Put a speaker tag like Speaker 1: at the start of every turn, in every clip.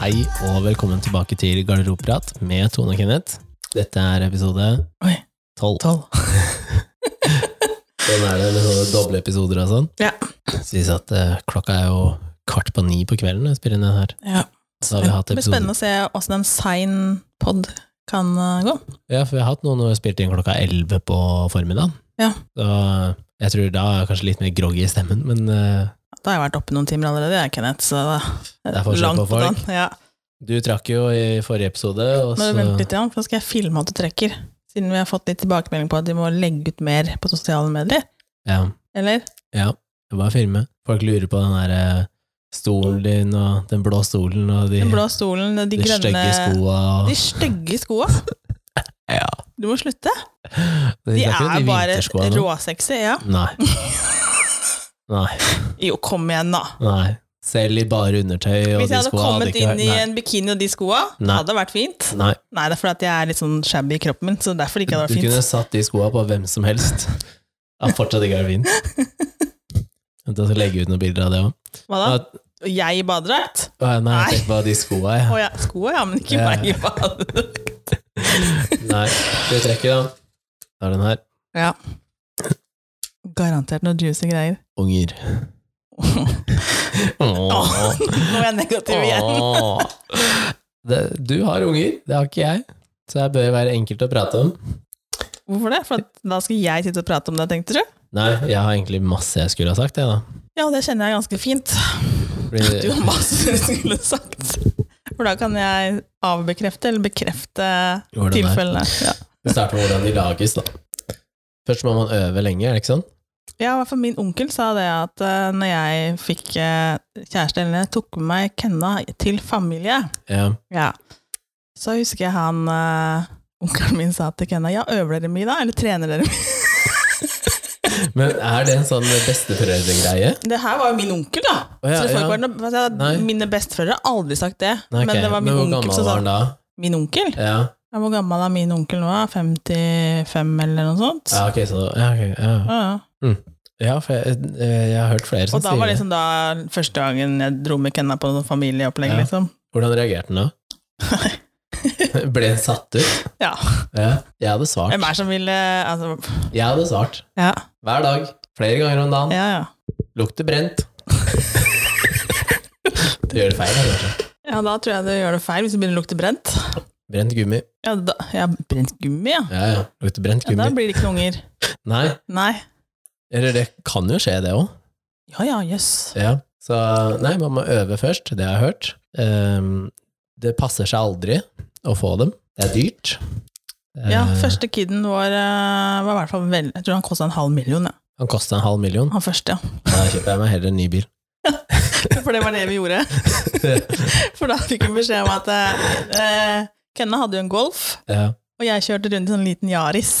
Speaker 1: Hei og velkommen tilbake til Garderobeprat med Tone og Kenneth. Dette er episode
Speaker 2: Oi.
Speaker 1: tolv.
Speaker 2: Tolv.
Speaker 1: Sånn er det med sånne doble episoder og sånn.
Speaker 2: Ja.
Speaker 1: Så vi satt, eh, klokka er jo kvart på ni på kvelden når vi spiller inn den her.
Speaker 2: Ja.
Speaker 1: Så har
Speaker 2: Det
Speaker 1: vi hatt
Speaker 2: blir spennende
Speaker 1: episode.
Speaker 2: å se åssen en sein pod kan eh, gå.
Speaker 1: Ja, for vi har hatt noen og spilt inn klokka elleve på formiddagen.
Speaker 2: Ja.
Speaker 1: Så eh, jeg tror da er jeg kanskje litt mer groggy i stemmen, men eh,
Speaker 2: Da har jeg vært oppe noen timer allerede, jeg, Kenneth, så
Speaker 1: Det er forskjell på folk.
Speaker 2: den. Ja.
Speaker 1: du trakk jo i forrige episode, og
Speaker 2: Nå
Speaker 1: så
Speaker 2: vent litt, igjen, for da skal jeg filme at du trekker. Siden vi har fått litt tilbakemelding på at de må legge ut mer på sosiale medier.
Speaker 1: ja,
Speaker 2: Eller?
Speaker 1: ja, det var filme. Folk lurer på den der eh, stolen din, og den blå stolen, og de
Speaker 2: Den blå stolen, de,
Speaker 1: De
Speaker 2: grønne
Speaker 1: stygge skoa og
Speaker 2: De stygge skoa!
Speaker 1: Ja.
Speaker 2: Du må slutte.
Speaker 1: De,
Speaker 2: De
Speaker 1: snakker om
Speaker 2: er
Speaker 1: de
Speaker 2: bare
Speaker 1: vinterskoa nå.
Speaker 2: råsexy. Ja.
Speaker 1: Nei. Nei.
Speaker 2: Jo, kom igjen, da.
Speaker 1: Nei. Selv i bare undertøy og
Speaker 2: Hvis
Speaker 1: de
Speaker 2: jeg hadde
Speaker 1: skoa hadde
Speaker 2: kommet
Speaker 1: ikke
Speaker 2: inn
Speaker 1: vært
Speaker 2: i
Speaker 1: Nei.
Speaker 2: en bikini og de skoa,
Speaker 1: Nei.
Speaker 2: hadde det vært fint.
Speaker 1: Nei.
Speaker 2: Nei, det er fordi at jeg er litt sånn shabby i kroppen min, så derfor ikke hadde
Speaker 1: Du
Speaker 2: det vært
Speaker 1: kunne
Speaker 2: fint.
Speaker 1: satt de skoa på hvem som helst. Det har fortsatt ikke vært fint. Vent, jeg skal legge ut noen bilder av det òg.
Speaker 2: Hva da? Jeg i badedrakt?
Speaker 1: Nei,
Speaker 2: Nei.
Speaker 1: jeg tenker på de skoa,
Speaker 2: Å
Speaker 1: jeg.
Speaker 2: ja, sko ja, men ikke
Speaker 1: Ja.
Speaker 2: meg i badedrakt.
Speaker 1: Nei. Skal vi trekke, da? Da er den her.
Speaker 2: Ja. Garantert noe juicy greier.
Speaker 1: Unger. Åh.
Speaker 2: Åh, Nå er jeg negativ igjen.
Speaker 1: Åh. Det, du har unger, det har ikke jeg. Så det bør være enkelt å prate om.
Speaker 2: Hvorfor det? For at da skal jeg sitte og prate om det, tenkte du?
Speaker 1: Nei, jeg har egentlig masse jeg skulle ha sagt, jeg, da.
Speaker 2: Ja, det kjenner jeg ganske fint.
Speaker 1: Fordi-
Speaker 2: Du har masse du skulle sagt. For da kan jeg avbekrefte eller bekrefte
Speaker 1: Hvordan det er.
Speaker 2: tilfellene. Ja.
Speaker 1: Vi starter med hvordan de lages, da. Først må man øve lenge, er det ikke sånn?
Speaker 2: Ja, i hvert fall min onkel sa det at eh, når jeg fikk eh, kjæreste, eller tok med meg Kenna til familie,
Speaker 1: Ja.
Speaker 2: ja. så husker jeg han, eh, onkelen min sa til Kenna, ja, øver dere mye da, eller trener dere mye?
Speaker 1: Men er det en sånn besteforeldregreie?
Speaker 2: Det her var jo min onkel da,
Speaker 1: Å, ja,
Speaker 2: så det får
Speaker 1: ja.
Speaker 2: ikke være noe, altså,
Speaker 1: Nei.
Speaker 2: mine besteforeldre har aldri sagt det,
Speaker 1: Nei, ok.
Speaker 2: men det var min
Speaker 1: hvor
Speaker 2: onkel
Speaker 1: gammel
Speaker 2: som sa,
Speaker 1: var han da?
Speaker 2: min onkel?
Speaker 1: Ja.
Speaker 2: Ja, hvor gammel er min onkel nå? 55 eller noe sånt?
Speaker 1: ja, ok, så ja, ok, ja.
Speaker 2: Ja, ja.
Speaker 1: ja for jeg, eh, jeg har hørt flere som
Speaker 2: Og da var
Speaker 1: sier
Speaker 2: liksom da første gangen jeg dro med Kenna på noen familieopplegg
Speaker 1: Ja.
Speaker 2: liksom.
Speaker 1: Hvordan reagerte han da? Ble han satt ut?
Speaker 2: Ja.
Speaker 1: ja. Jeg hadde svart.
Speaker 2: Hvem er det som ville, altså,
Speaker 1: Jeg hadde svart.
Speaker 2: ja,
Speaker 1: Hver dag. Flere ganger om dagen.
Speaker 2: ja, ja.
Speaker 1: Lukter brent. du gjør det feil, da, kanskje.
Speaker 2: Ja, da tror jeg du gjør det feil hvis det begynner å lukte brent.
Speaker 1: Brent gummi.
Speaker 2: Ja, da, ja brent gummi, ja.
Speaker 1: Ja, ja. Lukter brent
Speaker 2: ja. Da
Speaker 1: gummi.
Speaker 2: blir det ikke noen unger.
Speaker 1: Nei,
Speaker 2: Nei.
Speaker 1: Eller det kan jo skje, det òg.
Speaker 2: Ja ja, jøss.
Speaker 1: Ja. Så nei, man må øve først, det har jeg hørt. Ehm, det passer seg aldri å få dem. Det er dyrt.
Speaker 2: Ja,
Speaker 1: Eh,
Speaker 2: første kiden vår eh, var i hvert fall vel, Jeg tror han kosta en halv million, ja.
Speaker 1: Han kosta en halv million.
Speaker 2: Han første, ja.
Speaker 1: Da kjøper jeg meg heller en ny bil.
Speaker 2: For det var det vi gjorde. For da fikk vi beskjed om at eh, Kenna hadde jo en Golf,
Speaker 1: Ja.
Speaker 2: og jeg kjørte rundt i en sånn liten Yaris.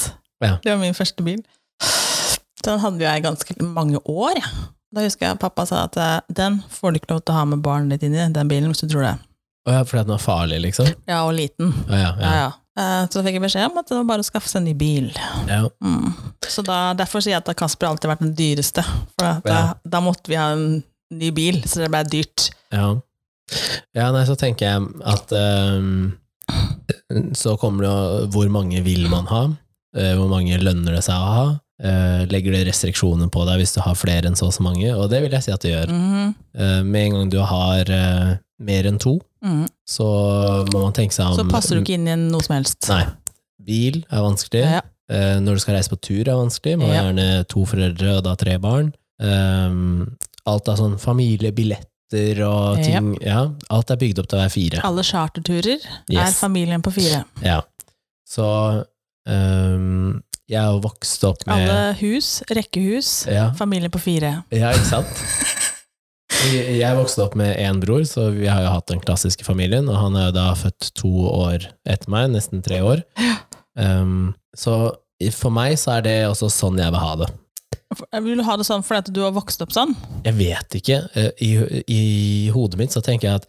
Speaker 1: Ja.
Speaker 2: Det var min første bil. Så den hadde jo jeg i ganske mange år, ja. Da husker jeg pappa sa at eh, den får du ikke lov til å ha med barnet ditt inn i, den bilen, hvis du tror det.
Speaker 1: Å ja, fordi at den var farlig, liksom?
Speaker 2: Ja, og liten.
Speaker 1: Å ja,
Speaker 2: Ja,
Speaker 1: ja.
Speaker 2: ja. Eh, Så da fikk jeg beskjed om at det var bare å skaffe seg en ny bil.
Speaker 1: ja.
Speaker 2: Mm. Så da, derfor sier jeg at Kasper har alltid vært den dyreste. For at da,
Speaker 1: Ja.
Speaker 2: da måtte vi ha en ny bil, så det ble dyrt.
Speaker 1: ja. ja nei, så tenker jeg at ehm, Så kommer det jo hvor mange vil man ha? Eh, Hvor mange lønner det seg å ha? Eh, Legger det restriksjoner på deg hvis du har flere enn så og så mange? Og det vil jeg si at det gjør.
Speaker 2: Mhm.
Speaker 1: Eh, Med en gang du har eh, mer enn to,
Speaker 2: Mhm.
Speaker 1: så må man tenke seg om
Speaker 2: Så passer du ikke inn i noe som helst.
Speaker 1: Nei. Bil er vanskelig.
Speaker 2: Ja, ja.
Speaker 1: Eh, Når du skal reise på tur er vanskelig. Man har
Speaker 2: Ja.
Speaker 1: gjerne to foreldre og da tre barn. Ehm, Alt av sånn familiebilletter og
Speaker 2: Ja.
Speaker 1: ting Ja, alt er bygd opp til å være fire.
Speaker 2: Alle charterturer er
Speaker 1: Yes.
Speaker 2: familien på fire.
Speaker 1: Ja. Så ehm, jeg er jo vokst opp med
Speaker 2: Alle hus, rekkehus,
Speaker 1: ja.
Speaker 2: familien på fire.
Speaker 1: Ja, ikke sant? Jeg jeg vokste opp med én bror, så vi har jo hatt den klassiske familien, og han er jo da født to år etter meg, nesten tre år. Um, så i- for meg så er det også sånn jeg vil ha det.
Speaker 2: Vil du ha det sånn fordi at du har vokst opp sånn?
Speaker 1: Jeg vet ikke. eh, I, I hodet mitt så tenker jeg at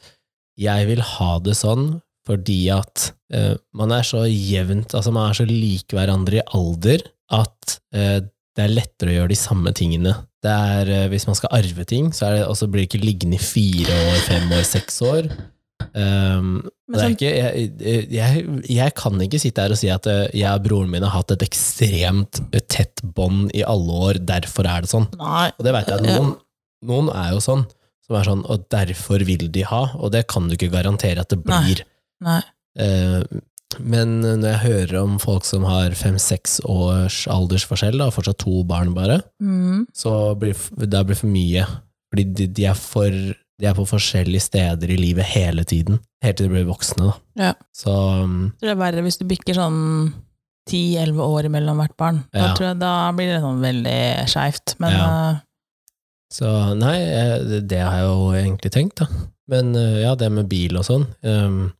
Speaker 1: jeg vil ha det sånn fordi at eh, man er så jevnt, altså man er så lik hverandre i alder at eh, det er lettere å gjøre de samme tingene. Det er, eh, hvis man skal arve ting, så er det, og så blir det ikke liggende i fire år, fem år, seks år. Um,
Speaker 2: Men
Speaker 1: det er
Speaker 2: sånn,
Speaker 1: ikke, jeg, jeg, jeg kan ikke sitte her og si at eh, jeg og broren min har hatt et ekstremt tett bånd i alle år, derfor er det sånn.
Speaker 2: nei,
Speaker 1: Og det veit jeg at noen, noen er jo sånn, som er sånn, og derfor vil de ha, og det kan du ikke garantere at det
Speaker 2: Nei.
Speaker 1: blir.
Speaker 2: nei.
Speaker 1: Eh, Men når jeg hører om folk som har fem-seks års aldersforskjell, da, og fortsatt to barn bare,
Speaker 2: Mm.
Speaker 1: så blir det blir for mye. Fordi de, de, er for, de er på forskjellige steder i livet hele tiden. Helt til de blir voksne, da.
Speaker 2: Ja.
Speaker 1: Så um,
Speaker 2: Jeg tror det er verre hvis du bikker sånn 10-11 år mellom hvert barn. Da,
Speaker 1: Ja.
Speaker 2: tror jeg, da blir det sånn veldig skeivt. Men
Speaker 1: Ja.
Speaker 2: eh,
Speaker 1: Så nei, eh, det- det har jeg jo egentlig tenkt, da. Men eh, ja, det med bil og sånn. ehm,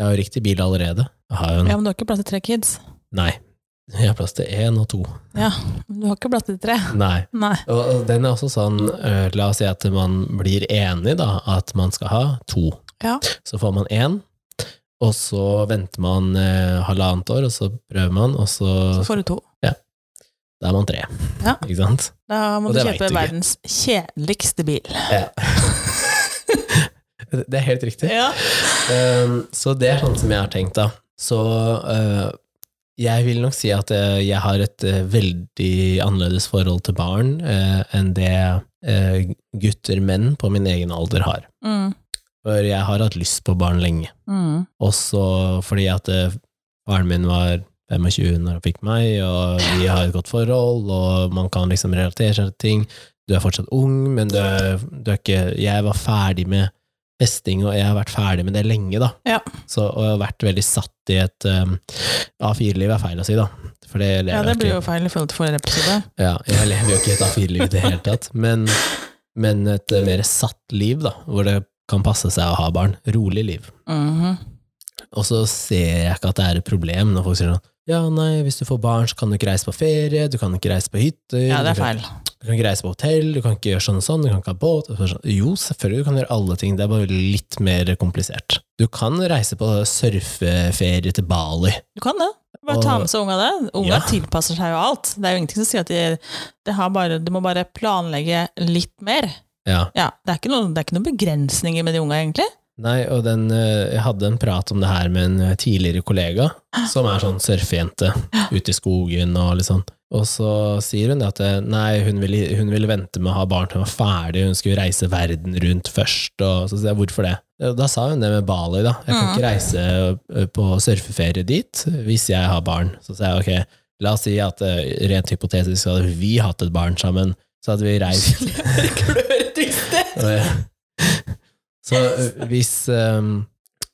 Speaker 1: Jeg har jo riktig bil allerede. Jeg har jo en
Speaker 2: ja, men du har ikke plass til tre kids.
Speaker 1: Nei. Jeg har plass til én og to.
Speaker 2: Men Du har ikke plass til tre.
Speaker 1: Nei.
Speaker 2: Nei.
Speaker 1: Og- Og den er også sånn eh, La oss si at man blir enig, da, at man skal ha to.
Speaker 2: Ja.
Speaker 1: Så får man én, og så venter man eh, halvannet år, og så prøver man, og så
Speaker 2: Så får du to.
Speaker 1: Da er man tre.
Speaker 2: Ja.
Speaker 1: Ikke sant?
Speaker 2: Da må
Speaker 1: Og
Speaker 2: du
Speaker 1: det vet
Speaker 2: kjøpe
Speaker 1: du ikke.
Speaker 2: verdens kjedeligste bil.
Speaker 1: Det er helt riktig.
Speaker 2: Ja.
Speaker 1: Um, så det er sånn som jeg har tenkt da. Så uh, jeg vil nok si at uh, jeg har et uh, veldig annerledes forhold til barn uh, enn det uh, gutter menn på min egen alder har.
Speaker 2: Mm.
Speaker 1: For jeg har hatt lyst på barn lenge.
Speaker 2: Mm.
Speaker 1: Også fordi at uh, faren min var 25 når han fikk meg, og vi har et godt forhold, og man kan liksom relatere seg til ting. Du er fortsatt ung, men du er, du er ikke Jeg var ferdig med festing, og jeg har vært ferdig med det lenge, da.
Speaker 2: Ja.
Speaker 1: Så, og jeg har vært veldig satt i et um, A4-liv, er feil å si, da. For det lever
Speaker 2: ja, det
Speaker 1: jeg
Speaker 2: blir
Speaker 1: ikke
Speaker 2: jo feil i forhold til forrige episode.
Speaker 1: ja, jeg lever jo ikke et A4-liv i det hele tatt, men, men et eh, mer satt liv, da, hvor det kan passe seg å ha barn. Rolig liv.
Speaker 2: Mhm.
Speaker 1: Og så ser jeg ikke at det er et problem når folk sier sånn ja, nei, hvis du får barn, så kan du ikke reise på ferie, du kan ikke reise på hytter,
Speaker 2: Ja, det
Speaker 1: du
Speaker 2: er
Speaker 1: kan-
Speaker 2: feil.
Speaker 1: du kan ikke reise på hotell, du kan ikke gjøre sånn og sånn, du kan ikke ha båt og så er det sånn, Jo, selvfølgelig du kan gjøre alle ting, det er bare litt mer komplisert. Du kan reise på surfeferie til Bali.
Speaker 2: Du kan det. Bare ta med seg unga det. Unga
Speaker 1: Ja.
Speaker 2: tilpasser seg jo alt. Det er jo ingenting som sier at de, de, har bare, de må bare planlegge litt mer.
Speaker 1: Ja.
Speaker 2: Ja, det, er ikke noen, det er ikke noen begrensninger med de unga, egentlig.
Speaker 1: Nei, og den, eh, jeg hadde en prat om det her med en eh, tidligere kollega, som er sånn surfejente ute i skogen og litt sånn. Og så sier hun det at eh, nei, hun ville, hun ville vente med å ha barn til hun var ferdig, hun skulle reise verden rundt først, og så sier jeg hvorfor det? Og Da sa hun det med Bali, da. Jeg kan
Speaker 2: Mm.
Speaker 1: ikke reise eh, på surfeferie dit hvis jeg har barn. Så sa jeg ok, la oss si at eh, rent hypotetisk hadde vi hatt et barn sammen, så hadde vi reist Eh, Så eh, hvis, eh,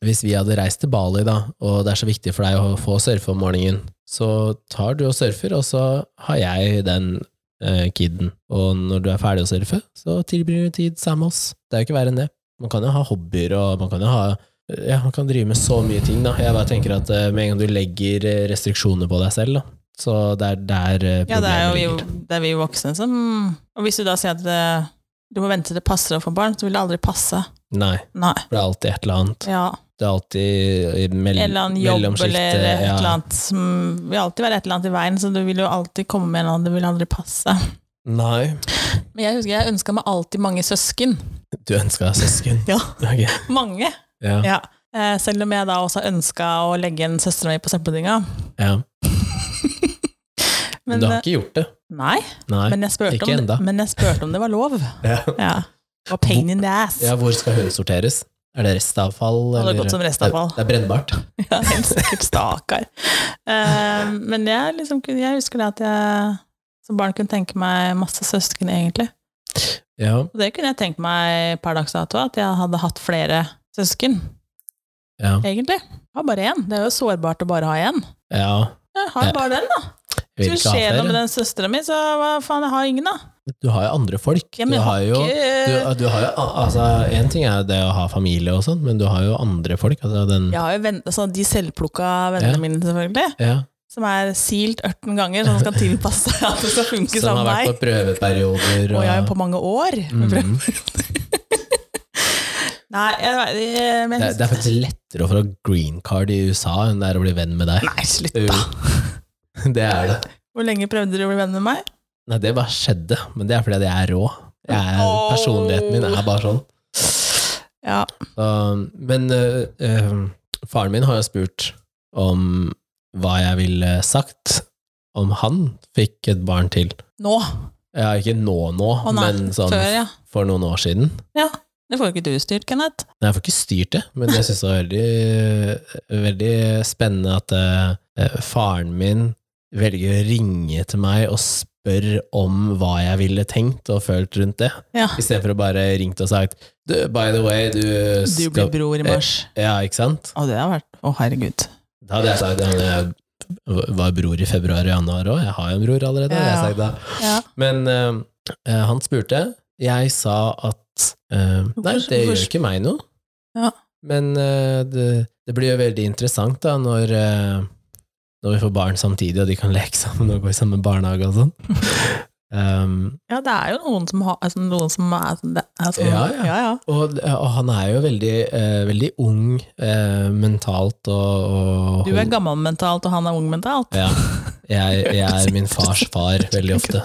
Speaker 1: hvis vi hadde reist til Bali, da, og det er så viktig for deg å få surfe om morgenen, så tar du og surfer, og så har jeg den eh, kiden. Og når du er ferdig å surfe, så tilbringer du tid sammen med oss. Det er jo ikke verre enn det. Man kan jo ha hobbyer, og man kan jo ha ja, man kan drive med så mye ting, da. Jeg bare tenker at eh, med en gang du legger eh, restriksjoner på deg selv, da, så det er der eh,
Speaker 2: Ja, det er
Speaker 1: problemet
Speaker 2: jo
Speaker 1: ligger.
Speaker 2: vi, det er vi voksne som Og hvis du da sier at eh, du må vente til det passer å få barn, så vil det aldri passe.
Speaker 1: Nei,
Speaker 2: Nei.
Speaker 1: for det er alltid et eller annet.
Speaker 2: Ja.
Speaker 1: Det er alltid i mell
Speaker 2: En eller annen jobb
Speaker 1: mellomskiktet,
Speaker 2: eller et
Speaker 1: ja.
Speaker 2: eller annet som Det vil alltid være et eller annet i veien, så du vil jo alltid komme med en eller annen, det vil aldri passe.
Speaker 1: Nei,
Speaker 2: Men jeg husker jeg ønska meg alltid mange søsken.
Speaker 1: du ønska deg søsken.
Speaker 2: Ja.
Speaker 1: Ok,
Speaker 2: Mange.
Speaker 1: Ja.
Speaker 2: Ja. Eh, Selv om jeg da også ønska å legge en søster mi på søppeldynga.
Speaker 1: ja. Men eh,
Speaker 2: Men,
Speaker 1: du har
Speaker 2: eh,
Speaker 1: ikke gjort det?
Speaker 2: nei,
Speaker 1: Nei.
Speaker 2: men jeg spurte
Speaker 1: ikke
Speaker 2: om,
Speaker 1: enda.
Speaker 2: det- men jeg spurte om det var lov.
Speaker 1: Ja.
Speaker 2: Ja. Det var pain in the ass.
Speaker 1: ja, hvor skal hun sorteres? Er det restavfall?
Speaker 2: det hadde
Speaker 1: eller-
Speaker 2: gått som restavfall.
Speaker 1: Det er brennbart.
Speaker 2: Ja, helt sikkert. Stakkar. Eh, men jeg, liksom, kunne- jeg husker det at jeg som barn kunne tenke meg masse søsken, egentlig.
Speaker 1: Ja,
Speaker 2: Og det kunne jeg tenke meg per dags dato, at jeg hadde hatt flere søsken,
Speaker 1: ja,
Speaker 2: egentlig. Jeg har bare én. Det er jo sårbart å bare ha én.
Speaker 1: ja.
Speaker 2: Jeg har jo bare den, da.
Speaker 1: Jeg
Speaker 2: Skulle
Speaker 1: vil ikke ha
Speaker 2: skje noe med
Speaker 1: flere.
Speaker 2: den søstera mi, så hva faen, jeg har ingen, da.
Speaker 1: Du har jo andre folk.
Speaker 2: Ja, men
Speaker 1: du
Speaker 2: jeg
Speaker 1: har jo
Speaker 2: ikke-
Speaker 1: du, du har jo, al- altså, En ting er det å ha familie og sånn, men du har jo andre folk. Altså, den,
Speaker 2: Jeg har jo venn, altså, de selvplukka vennene
Speaker 1: Ja.
Speaker 2: mine, selvfølgelig.
Speaker 1: ja,
Speaker 2: Som er silt 18 ganger, som skal tilpasse seg at det skal funke
Speaker 1: som har
Speaker 2: sammen med
Speaker 1: vært
Speaker 2: meg.
Speaker 1: på prøveperioder.
Speaker 2: Og jeg er jo på mange år.
Speaker 1: Mm.
Speaker 2: Mm. Nei, jeg, jeg, jeg, men
Speaker 1: det,
Speaker 2: jeg
Speaker 1: det er faktisk lettere å få green card i USA enn det er å bli venn med deg.
Speaker 2: Nei, slutt
Speaker 1: Jo,
Speaker 2: da.
Speaker 1: det er det.
Speaker 2: Hvor lenge prøvde du å bli venn med meg?
Speaker 1: Nei, det bare skjedde, men det er fordi at jeg er rå. Jeg er,
Speaker 2: Åh.
Speaker 1: Personligheten min er bare sånn.
Speaker 2: Ja.
Speaker 1: Så, men eh, eh, faren min har jo spurt om hva jeg ville sagt om han fikk et barn til.
Speaker 2: Nå!
Speaker 1: Ja, ikke nå nå,
Speaker 2: Å nei,
Speaker 1: men sånn
Speaker 2: før, ja.
Speaker 1: for noen år siden.
Speaker 2: Det får jo ikke du styrt, Kenneth.
Speaker 1: Nei, Jeg får ikke styrt det, men jeg syns det var veldig, eh, veldig spennende at eh, faren min velger å ringe til meg og spørre om hva jeg ville tenkt og følt rundt det,
Speaker 2: Ja.
Speaker 1: istedenfor å bare ringt og sagt du, by the way, du
Speaker 2: Du blir bror i mars.
Speaker 1: Ja, ikke sant?
Speaker 2: Å, det har vært Å, herregud.
Speaker 1: Da hadde jeg sagt at jeg var bror i februar og januar òg, jeg har jo en bror allerede. hadde jeg
Speaker 2: Ja.
Speaker 1: sagt da.
Speaker 2: Ja.
Speaker 1: Men eh, eh, han spurte, jeg sa at eh, nei, det
Speaker 2: Hvorfor-
Speaker 1: gjør ikke meg noe.
Speaker 2: Ja.
Speaker 1: Men eh, det, det blir jo veldig interessant da, når, eh, når vi får barn samtidig, og de kan leke sammen og gå i samme barnehage og sånn. Um,
Speaker 2: ja, det er jo noen som har altså, Noen som er, det er sånn
Speaker 1: Ja, ja.
Speaker 2: ja, ja.
Speaker 1: og, eh, og han er jo veldig, eh, veldig ung eh, mentalt og, og
Speaker 2: Du er gammel mentalt, og han er ung mentalt.
Speaker 1: Ja. Jeg, jeg er min fars far veldig ofte.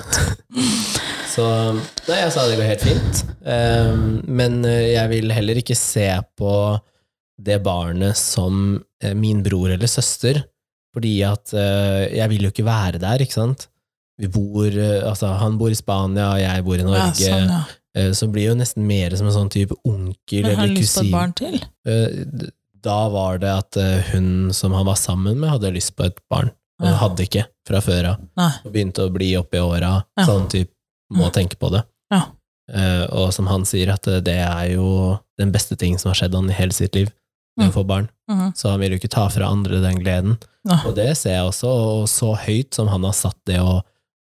Speaker 1: Så Nei, jeg sa det går helt fint. Ehm, men eh, jeg vil heller ikke se på det barnet som eh, min bror eller søster, fordi at eh, jeg vil jo ikke være der, ikke sant? Vi bor, eh, altså, han bor i Spania, og jeg bor i Norge,
Speaker 2: Ja, sånn, ja.
Speaker 1: eh, så blir det jo nesten mer som en sånn type onkel
Speaker 2: Men har
Speaker 1: eller
Speaker 2: du lyst på et
Speaker 1: kusin.
Speaker 2: barn til?
Speaker 1: Eh, d- Da var det at eh, hun som han var sammen med, hadde lyst på et barn. Men hun
Speaker 2: Ja.
Speaker 1: Eh, hadde ikke fra før av.
Speaker 2: Ah. Nei.
Speaker 1: Og begynte å bli oppi åra.
Speaker 2: Ja.
Speaker 1: Sånn typ, må
Speaker 2: Ja.
Speaker 1: tenke på det.
Speaker 2: Ja.
Speaker 1: Eh, og som han sier, at eh, det er jo den beste ting som har skjedd han i hele sitt liv. Det
Speaker 2: Mm.
Speaker 1: å få barn.
Speaker 2: Mhm.
Speaker 1: Så han vil jo ikke ta fra andre den gleden.
Speaker 2: Nei.
Speaker 1: Og det ser jeg også, og så høyt som han har satt det å,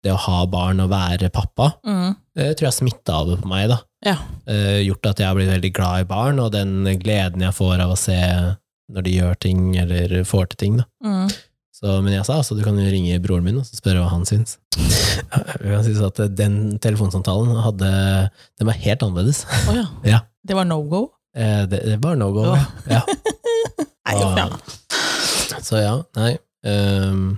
Speaker 1: det å ha barn og være pappa,
Speaker 2: Mhm.
Speaker 1: jeg tror jeg smitta over på meg, da.
Speaker 2: Ja.
Speaker 1: Eh, gjort at jeg har blitt veldig glad i barn, og den gleden jeg får av å se når de gjør ting, eller får til ting, da.
Speaker 2: Mhm.
Speaker 1: Så, men jeg sa altså, du kan jo ringe broren min og så spørre hva han syns. Jeg kan si at eh, den telefonsamtalen hadde Den var helt annerledes.
Speaker 2: Å ja.
Speaker 1: Ja.
Speaker 2: Det var no go?
Speaker 1: Eh, det, det var no go.
Speaker 2: Ja.
Speaker 1: Ja.
Speaker 2: Nei, jo, ja.
Speaker 1: Ah. Så ja, nei. ehm,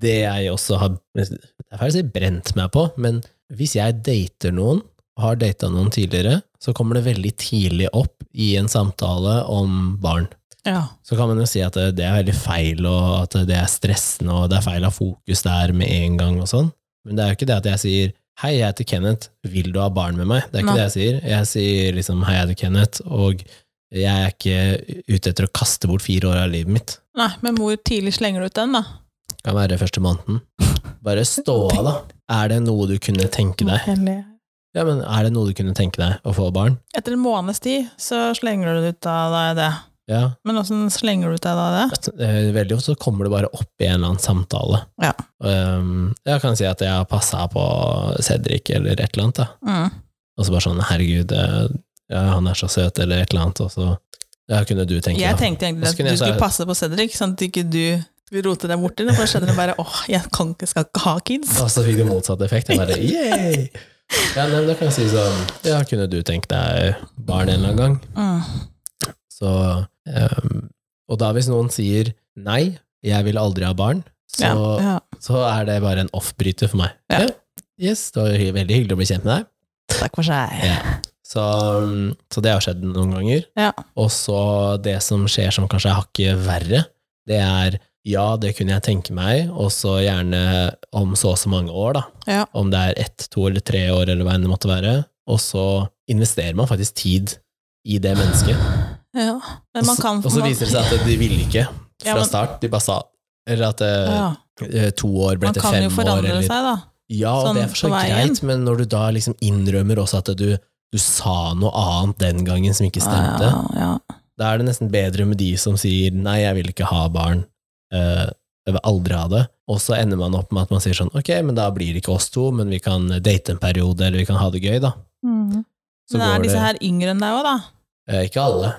Speaker 1: det jeg også har Det er feil å si brent meg på, men hvis jeg dater noen, har data noen tidligere, så kommer det veldig tidlig opp i en samtale om barn.
Speaker 2: ja.
Speaker 1: Så kan man jo si at det det er veldig feil, og at det er stressende, og det er feil å ha fokus der med en gang og sånn. Men det er jo ikke det at jeg sier 'Hei, jeg heter Kenneth, vil du ha barn med meg?' Det er ikke
Speaker 2: Nei.
Speaker 1: det jeg sier. Jeg sier liksom 'Hei, jeg heter Kenneth', og jeg er ikke ute etter å kaste bort fire år av livet mitt.
Speaker 2: Nei, men hvor tidlig slenger du ut den, da?
Speaker 1: Kan være første måneden. Bare stå av, da. Er det noe du kunne tenke deg?
Speaker 2: Hellig.
Speaker 1: Ja, men er det noe du kunne tenke deg å få barn?
Speaker 2: Etter en måneds tid så slenger du ut av deg det.
Speaker 1: Ja,
Speaker 2: Men åssen slenger du ut av deg det?
Speaker 1: at, eh, veldig ofte så kommer det bare opp i en eller annen samtale.
Speaker 2: Ja.
Speaker 1: Um, jeg kan si at jeg har passa på Cedric eller et eller annet, da.
Speaker 2: Mm.
Speaker 1: Og så bare sånn, herregud, eh, ja, han er så søt, eller et eller annet, og så ja, kunne du tenke
Speaker 2: Jeg
Speaker 1: deg.
Speaker 2: tenkte egentlig
Speaker 1: Hva
Speaker 2: at
Speaker 1: skulle
Speaker 2: du
Speaker 1: jeg sagt?
Speaker 2: skulle passe på Cedric, sånn at ikke du skulle rote deg borti det. For da skjønner du bare åh, jeg kan ikke, skal ikke ha kids.
Speaker 1: Og så fikk det motsatt effekt. Jeg bare yay! Ja, nei, men da kan jeg si sånn, ja, kunne du tenke deg barn en eller annen gang?
Speaker 2: Mm.
Speaker 1: Så, ehm, og da hvis noen sier nei, jeg vil aldri ha barn, så,
Speaker 2: Ja. ja.
Speaker 1: så er det bare en off-bryter for meg.
Speaker 2: Ja.
Speaker 1: Yes, det var hy- veldig hyggelig å bli kjent med deg.
Speaker 2: Takk for seg.
Speaker 1: Så, um, så det har skjedd noen ganger.
Speaker 2: Ja.
Speaker 1: Og så det som skjer som kanskje er hakket verre, det er ja, det kunne jeg tenke meg, og så gjerne om så og så mange år, da.
Speaker 2: Ja.
Speaker 1: Om det er ett, to eller tre år, eller hva enn det måtte være. Og så investerer man faktisk tid i det mennesket.
Speaker 2: Ja. Men man kan
Speaker 1: Og så viser det seg at de ville ikke fra
Speaker 2: Ja, men-
Speaker 1: start. De bare sa Eller at eh,
Speaker 2: ja.
Speaker 1: eh, to år ble
Speaker 2: Man
Speaker 1: til
Speaker 2: kan
Speaker 1: fem
Speaker 2: jo
Speaker 1: år.
Speaker 2: forandre
Speaker 1: Eller,
Speaker 2: seg, da.
Speaker 1: ja, og
Speaker 2: sånn
Speaker 1: det er for så
Speaker 2: på veien.
Speaker 1: greit, men når du da liksom innrømmer også at du, du sa noe annet den gangen som ikke stemte,
Speaker 2: Ah, Ja, ja.
Speaker 1: da er det nesten bedre med de som sier 'nei, jeg vil ikke ha barn', eh, 'jeg vil aldri ha det', og så ender man opp med at man sier sånn 'ok, men da blir det ikke oss to, men vi kan date en periode, eller vi kan ha det gøy', da.
Speaker 2: Mm.
Speaker 1: Så
Speaker 2: Men er
Speaker 1: går det-
Speaker 2: disse her yngre enn deg òg, da?
Speaker 1: Eh, Ikke alle.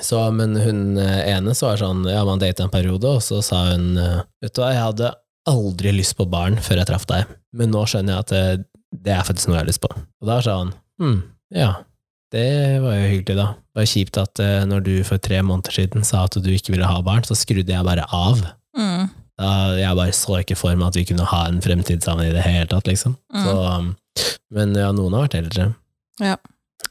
Speaker 1: Så, men hun eh, ene så var sånn, ja, man datet en periode, og så sa hun, eh, vet du hva, jeg hadde aldri lyst på barn før jeg traff deg, men nå skjønner jeg at eh, det er faktisk noe jeg har lyst på. Og da sa han, hm, ja, det var jo hyggelig da. Det var kjipt at eh, når du for tre måneder siden sa at du ikke ville ha barn, så skrudde jeg bare av.
Speaker 2: Mm.
Speaker 1: Da, jeg bare så ikke for meg at vi kunne ha en fremtid sammen i det hele tatt, liksom.
Speaker 2: Mm.
Speaker 1: Så, um, men ja, noen har vært eldre.
Speaker 2: Ja.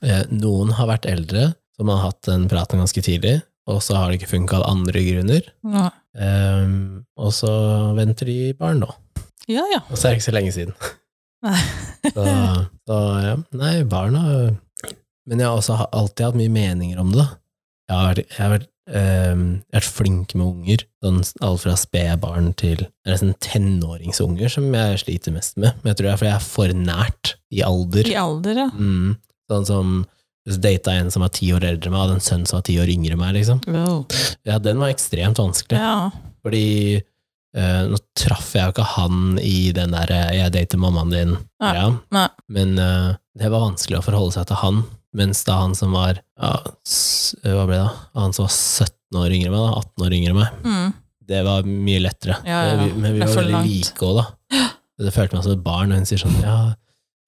Speaker 1: Eh, Noen har vært eldre som har hatt den praten ganske tidlig, og så har det ikke funka av andre grunner.
Speaker 2: Ja,
Speaker 1: Ehm, og så venter de barn nå.
Speaker 2: ja. ja.
Speaker 1: Og så er det ikke så lenge siden.
Speaker 2: Nei.
Speaker 1: Så, så ja, nei, barna Men jeg har også ha- alltid hatt mye meninger om det. da. Jeg har, vært- jeg har vært, ehm, jeg har vært flink med unger, sånn alt fra spedbarn til nesten tenåringsunger, som jeg sliter mest med. Men jeg tror det er fordi jeg er for nært i alder.
Speaker 2: I alder, ja.
Speaker 1: Mm. Sånn som hvis jeg data en som var ti år eldre enn meg, og en sønn som var ti år yngre enn meg, liksom.
Speaker 2: Wow.
Speaker 1: Ja, den var ekstremt vanskelig.
Speaker 2: Ja.
Speaker 1: Fordi eh, nå traff jeg jo ikke han i den der eh, 'jeg dater mammaen din',
Speaker 2: Nei.
Speaker 1: ja.
Speaker 2: Nei.
Speaker 1: men eh, det var vanskelig å forholde seg til han. Mens da han som var ja, s- hva ble det da? Han som var 17 år yngre enn meg, da, 18 år yngre enn meg,
Speaker 2: Mm.
Speaker 1: det var mye lettere.
Speaker 2: Ja, ja, ja.
Speaker 1: Men vi, men vi
Speaker 2: Det er
Speaker 1: var
Speaker 2: for
Speaker 1: veldig
Speaker 2: langt.
Speaker 1: like òg, da. Det følte meg som et barn, og hun sier sånn ja,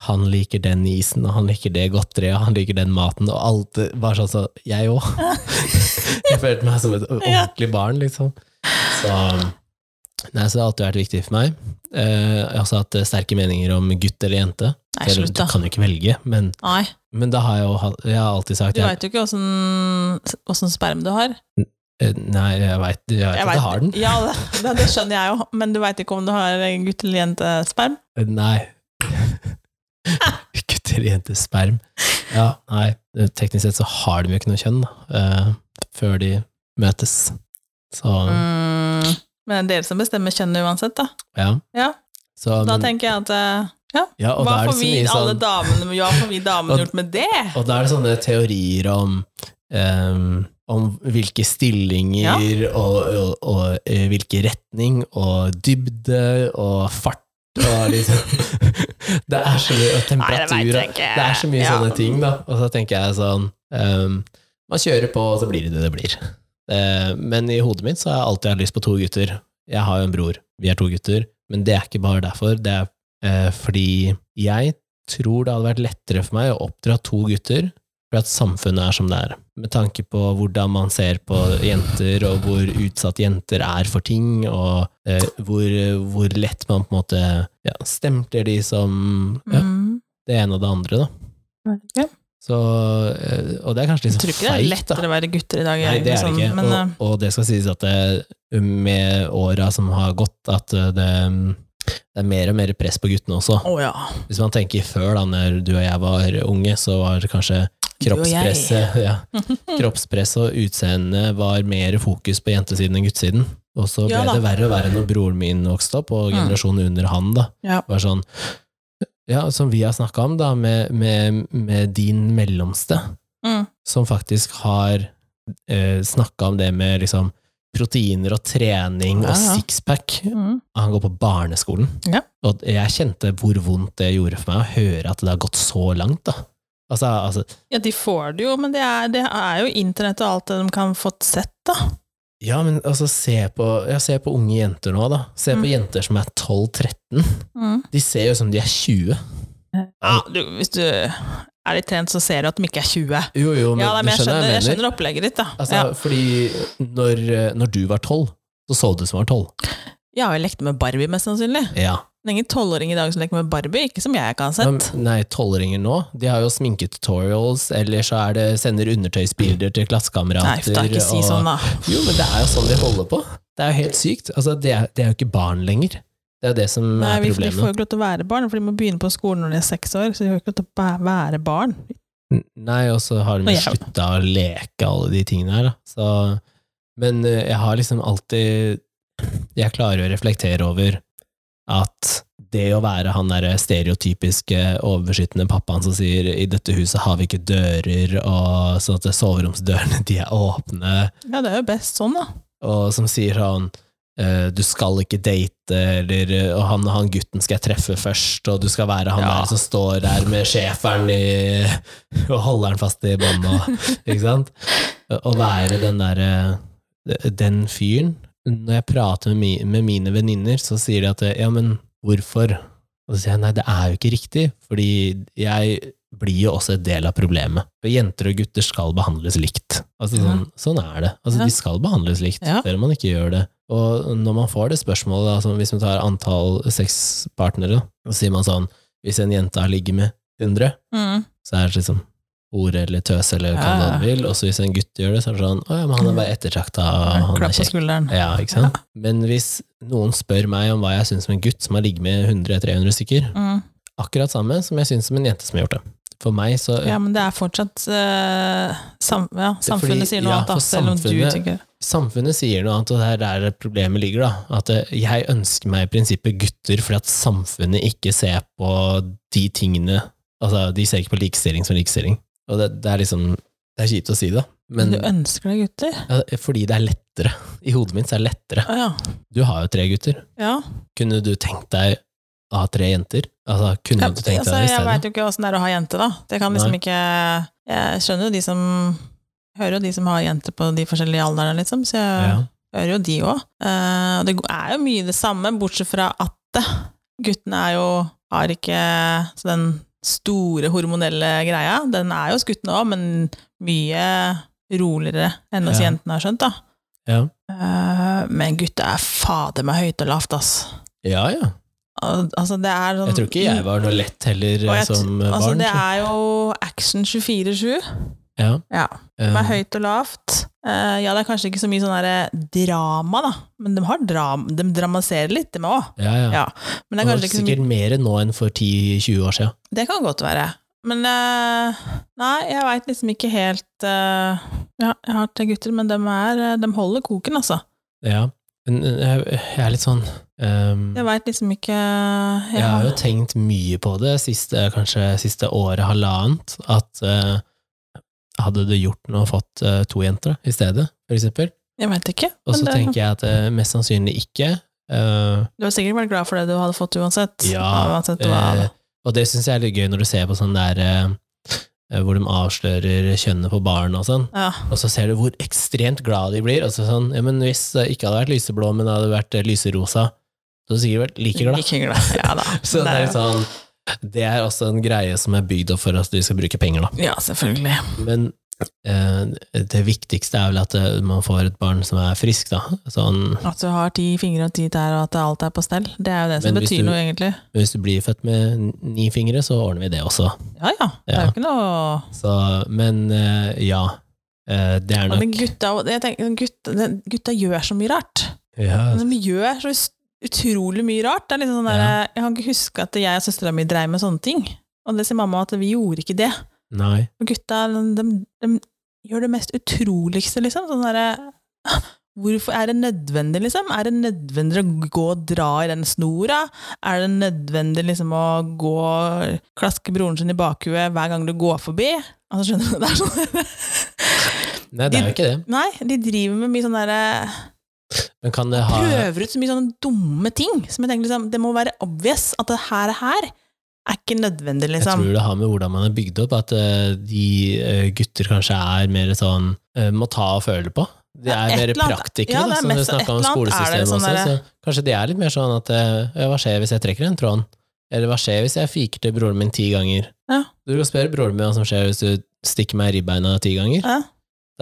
Speaker 1: han liker den isen, og han liker det godteriet, og han liker den maten, og alt det Bare sånn som jeg òg. jeg følte meg som et ordentlig barn, liksom. Så Nei, så det har alltid vært viktig for meg. Eh, jeg har også hatt eh, sterke meninger om gutt eller jente.
Speaker 2: Nei,
Speaker 1: Eller,
Speaker 2: slutt, da.
Speaker 1: Du kan jo ikke velge, men,
Speaker 2: Nei.
Speaker 1: men da har jeg jo hatt- jeg har alltid sagt
Speaker 2: Du
Speaker 1: jeg,
Speaker 2: veit jo ikke åssen sperm du har.
Speaker 1: eh, Nei, jeg veit at
Speaker 2: vet-
Speaker 1: jeg har den.
Speaker 2: Ja, det, det, det skjønner jeg jo, men du veit ikke om du har gutt- eller jentesperm?
Speaker 1: Eh, Nei. Gutter, jenter, sperm. Ja, nei. Eh, Teknisk sett så har de jo ikke noe kjønn da, eh, før de møtes. Så
Speaker 2: Mm. Men det er dere som bestemmer kjønnet uansett, da.
Speaker 1: ja.
Speaker 2: Ja.
Speaker 1: Så,
Speaker 2: Da
Speaker 1: men-
Speaker 2: tenker jeg at eh, ja,
Speaker 1: ja, og
Speaker 2: hva
Speaker 1: da er det
Speaker 2: får
Speaker 1: så
Speaker 2: vi
Speaker 1: mye
Speaker 2: alle
Speaker 1: sånn
Speaker 2: damene hva får vi damene
Speaker 1: Og-
Speaker 2: gjort med det?
Speaker 1: Og da er det sånne teorier om eh, om hvilke stillinger og, og, og eh, hvilke retning og dybde og fart og liksom Det er så mye og
Speaker 2: Nei, det
Speaker 1: temperatur
Speaker 2: vet
Speaker 1: og
Speaker 2: jeg ikke.
Speaker 1: Det er så mye
Speaker 2: Ja.
Speaker 1: sånne ting, da. Og så tenker jeg sånn ehm, Man kjører på, og så blir det det det blir. Eh, men i hodet mitt så har jeg alltid hatt lyst på to gutter. Jeg har jo en bror. Vi er to gutter. Men det er ikke bare derfor. Det er eh, fordi jeg tror det hadde vært lettere for meg å oppdra to gutter fordi at samfunnet er som det er. Med tanke på hvordan man ser på jenter, og hvor utsatt jenter er for ting, og eh, hvor, hvor lett man på en måte ja, stempler de som ja,
Speaker 2: Mm.
Speaker 1: det ene og det andre, da.
Speaker 2: Ja.
Speaker 1: Så, eh, og det er kanskje litt
Speaker 2: Jeg tror
Speaker 1: sånn
Speaker 2: ikke det er
Speaker 1: feigt,
Speaker 2: lettere
Speaker 1: da.
Speaker 2: å være gutter i dag.
Speaker 1: Nei, det er det
Speaker 2: liksom,
Speaker 1: ikke.
Speaker 2: Men, eh,
Speaker 1: og, og det skal sies at det, med åra som har gått, at eh, det, det er mer og mer press på guttene også.
Speaker 2: Å ja.
Speaker 1: Hvis man tenker før, da når du og jeg var unge, så var det kanskje
Speaker 2: Du og jeg.
Speaker 1: kroppspresset ja. Kroppspresset og utseendet var mer fokus på jentesiden enn guttesiden. Og så ble
Speaker 2: Ja da.
Speaker 1: det verre og verre når broren min vokste opp, og
Speaker 2: Mm.
Speaker 1: generasjonen under han. da.
Speaker 2: Ja.
Speaker 1: var sånn Ja, som vi har snakka om, da, med, med, med din mellomste,
Speaker 2: Mm.
Speaker 1: som faktisk har eh, snakka om det med liksom proteiner og trening
Speaker 2: Ja,
Speaker 1: og
Speaker 2: ja.
Speaker 1: sixpack.
Speaker 2: Mm.
Speaker 1: Han går på barneskolen.
Speaker 2: Ja.
Speaker 1: Og jeg kjente hvor vondt det gjorde for meg å høre at det har gått så langt, da. Altså, altså
Speaker 2: ja, de får det jo, men det er, det er jo internett og alt det de kan fått sett, da.
Speaker 1: ja, men altså, se på, ja, se på unge jenter nå, da. Se på
Speaker 2: Mm.
Speaker 1: jenter som er 12-13.
Speaker 2: Mm.
Speaker 1: De ser jo ut som de er 20.
Speaker 2: Ja, du, hvis du er litt trent, så ser du at de ikke er 20.
Speaker 1: Jo, jo, men,
Speaker 2: Ja, nei, men
Speaker 1: du skjønner,
Speaker 2: jeg skjønner,
Speaker 1: hva
Speaker 2: jeg
Speaker 1: jeg mener.
Speaker 2: skjønner opplegget ditt, da.
Speaker 1: Altså, Fordi når, eh, når du var 12, så så du ut som var 12.
Speaker 2: ja. Jeg har jo lekt med Barbie, mest sannsynlig.
Speaker 1: Ja.
Speaker 2: Det er ingen tolvåring i dag som leker med Barbie, ikke som jeg kan ha
Speaker 1: Men,
Speaker 2: sett.
Speaker 1: nei, tolvåringer nå, de har jo sminketutorials, eller så er det, sender undertøysbilder til
Speaker 2: Nei,
Speaker 1: klassekamerater.
Speaker 2: da, ikke si
Speaker 1: og-
Speaker 2: sånn, da.
Speaker 1: Jo, men det er jo sånn de holder på. Det er jo helt sykt. Altså, det er, det er jo ikke barn lenger. Det er jo det som
Speaker 2: Nei,
Speaker 1: er
Speaker 2: vi, de får jo
Speaker 1: problemet.
Speaker 2: ikke lov til å være barn, for de må begynne på skolen når de er seks år. Så de får ikke lov til å bæ- være barn.
Speaker 1: Nei, og så har de
Speaker 2: Og
Speaker 1: jo
Speaker 2: jeg-
Speaker 1: slutta å leke alle de tingene her, da. Så, men eh, jeg har liksom alltid Jeg klarer å reflektere over at det å være han derre stereotypiske overbeskyttende pappaen som sier i dette huset har vi ikke dører, og sånn at soveromsdørene de er åpne,
Speaker 2: Ja, det er jo best sånn, da.
Speaker 1: og som sier sånn eh, du skal ikke date, eller eh, og han, han gutten skal jeg treffe først, og du skal være han
Speaker 2: Ja.
Speaker 1: der som står der med schæferen i og holder han fast i bånda, ikke sant? Å være den derre den fyren. Når jeg prater med, mi, med mine venninner, så sier de at ja, men hvorfor? Og så sier jeg nei, det er jo ikke riktig, fordi jeg blir jo også et del av problemet. For jenter og gutter skal behandles likt. Altså sånn, sånn er det. Altså
Speaker 2: Ja.
Speaker 1: de skal behandles likt,
Speaker 2: Ja.
Speaker 1: selv om man ikke gjør det. Og når man får det spørsmålet, da, som hvis man tar antall sexpartnere, da, så sier man sånn, hvis en jente har ligget med 100,
Speaker 2: Mm.
Speaker 1: så er det liksom hore eller tøs eller hva
Speaker 2: Ja, ja.
Speaker 1: han vil, og så hvis en gutt gjør det, så er det sånn Å ja, men han er bare ettertrakta, han er
Speaker 2: Klapp på
Speaker 1: kjekk.
Speaker 2: skulderen.
Speaker 1: Ja, ikke sant? Men hvis noen spør meg om hva jeg syns om en gutt som har ligget med 100-300 stykker,
Speaker 2: Mm.
Speaker 1: akkurat samme som jeg syns om en jente som har gjort det. For meg så
Speaker 2: Ja, men det er fortsatt eh, sam ja,
Speaker 1: fordi-
Speaker 2: Samfunnet sier noe
Speaker 1: ja,
Speaker 2: annet, da,
Speaker 1: for
Speaker 2: selv om du
Speaker 1: samfunnet-
Speaker 2: tenker
Speaker 1: Samfunnet sier noe annet, og det er der problemet ligger. da At eh, jeg ønsker meg i prinsippet gutter fordi at samfunnet ikke ser på de tingene Altså, de ser ikke på likestilling som likestilling. Og det, det er liksom Det er kjipt å si det, men
Speaker 2: Du ønsker deg gutter?
Speaker 1: ja, fordi det er lettere. I hodet mitt så er det lettere.
Speaker 2: Å ja.
Speaker 1: Du har jo tre gutter.
Speaker 2: ja.
Speaker 1: Kunne du tenkt deg å ha tre jenter? Altså, kunne
Speaker 2: Ja,
Speaker 1: du tenkt deg
Speaker 2: altså,
Speaker 1: det i
Speaker 2: jeg
Speaker 1: stedet?
Speaker 2: veit jo ikke åssen det er å ha jente, da. Det kan liksom
Speaker 1: Nei.
Speaker 2: ikke Jeg skjønner jo de som Hører jo de som har jenter på de forskjellige aldrene, liksom. Så jeg
Speaker 1: Ja.
Speaker 2: hører jo de òg. Eh, og det er jo mye det samme, bortsett fra at eh, guttene er jo Har ikke så den store hormonelle greia. Den er jo hos guttene òg, men mye roligere enn hos
Speaker 1: Ja.
Speaker 2: jentene, har jeg skjønt, da.
Speaker 1: Ja.
Speaker 2: Eh, men gutta er fader meg høyt og lavt, ass.
Speaker 1: ja, ja.
Speaker 2: Al- Altså, det er sånn
Speaker 1: Jeg tror ikke jeg var noe lett heller
Speaker 2: Og
Speaker 1: eh,
Speaker 2: jeg t-
Speaker 1: som eh,
Speaker 2: Altså,
Speaker 1: barn.
Speaker 2: det
Speaker 1: tror jeg.
Speaker 2: er jo action 24-7.
Speaker 1: Ja.
Speaker 2: Ja.
Speaker 1: eh,
Speaker 2: Med høyt og lavt. Eh, ja, det er kanskje ikke så mye sånn der drama, da. Men de, har dram de dramatiserer litt, dem òg.
Speaker 1: ja, ja.
Speaker 2: Ja. Men det er kanskje
Speaker 1: det var
Speaker 2: ikke så mye
Speaker 1: sikkert mer nå enn for 10-20 år siden.
Speaker 2: Det kan godt være. Men eh, nei, jeg veit liksom ikke helt eh, Ja, jeg har tre gutter, men de, er, eh, de holder koken, altså.
Speaker 1: Ja. Men eh, jeg, jeg er litt sånn ehm,
Speaker 2: Jeg veit liksom ikke
Speaker 1: Jeg har jo tenkt mye på det siste, kanskje siste året, halvannet, at eh, hadde det gjort noe å fått eh, to jenter i stedet, for eksempel?
Speaker 2: Jeg veit ikke.
Speaker 1: Og så
Speaker 2: men det-
Speaker 1: tenker jeg at eh, mest sannsynlig ikke. eh,
Speaker 2: Du har sikkert vært glad for det du hadde fått uansett.
Speaker 1: Ja,
Speaker 2: uansett hva.
Speaker 1: eh, og det syns jeg er litt gøy når du ser på sånn der eh, hvor de avslører kjønnet på barn og sånn.
Speaker 2: Ja.
Speaker 1: Og så ser du hvor ekstremt glad de blir. Og så sånn, ja, men hvis det ikke hadde vært lyseblå, men det hadde vært eh, lyserosa, så hadde du sikkert vært like glad.
Speaker 2: Ikke glad. Ja da.
Speaker 1: Så det er, litt sånn, det er også en greie som er bygd opp for at de skal bruke penger, da.
Speaker 2: Ja, selvfølgelig.
Speaker 1: Men eh, det viktigste er vel at eh, man får et barn som er frisk, da. Sånn,
Speaker 2: At du har ti fingre og ti tær, og at alt er på stell. Det er jo det som
Speaker 1: Men hvis
Speaker 2: betyr
Speaker 1: du-
Speaker 2: noe, egentlig.
Speaker 1: hvis du blir født med n- ni fingre, så ordner vi det også.
Speaker 2: Ja ja, det er
Speaker 1: Ja.
Speaker 2: jo ikke noe
Speaker 1: Så, men eh, ja, eh, det er
Speaker 2: Men
Speaker 1: nok
Speaker 2: gutta, jeg tenker, gutta, den- gutta gjør så mye rart.
Speaker 1: ja,
Speaker 2: Altså, De gjør så us- utrolig mye rart. Det er litt sånn der,
Speaker 1: Ja.
Speaker 2: Jeg kan ikke huske at jeg og søstera mi dreiv med sånne ting. Og det sier mamma at vi gjorde ikke det.
Speaker 1: Nei.
Speaker 2: Og gutta, de, de gjør det mest utroligste, liksom. Sånn derre Hvorfor er det nødvendig, liksom? Er det nødvendig å gå og dra i den snora? Er det nødvendig liksom å gå og klaske broren sin i bakhuet hver gang du går forbi? Altså, skjønner du? Det er sånn
Speaker 1: Nei, det er jo ikke det.
Speaker 2: Nei, de driver med mye sånn derre
Speaker 1: Men kan det ha
Speaker 2: Prøver ut så mye sånne dumme ting som jeg tenker liksom Det må være obvious at det her og her er ikke nødvendig,
Speaker 1: Jeg
Speaker 2: liksom.
Speaker 1: tror det har med hvordan man er bygd opp, at eh, de eh, gutter kanskje er mer sånn eh, må ta og føle på. De
Speaker 2: Ja,
Speaker 1: er mer
Speaker 2: et eller annet-
Speaker 1: praktikere,
Speaker 2: ja, det
Speaker 1: da,
Speaker 2: er
Speaker 1: som du
Speaker 2: mest- et
Speaker 1: snakka om
Speaker 2: eller annet er det
Speaker 1: skolesystemet
Speaker 2: sånn
Speaker 1: også.
Speaker 2: derre-
Speaker 1: Så kanskje det er litt mer sånn at eh, ja, hva skjer hvis jeg trekker en tråd? Eller hva skjer hvis jeg fiker til broren min ti ganger?
Speaker 2: Ja.
Speaker 1: Du kan spørre broren min hva som skjer hvis du stikker meg i ribbeina ti ganger.
Speaker 2: Ja,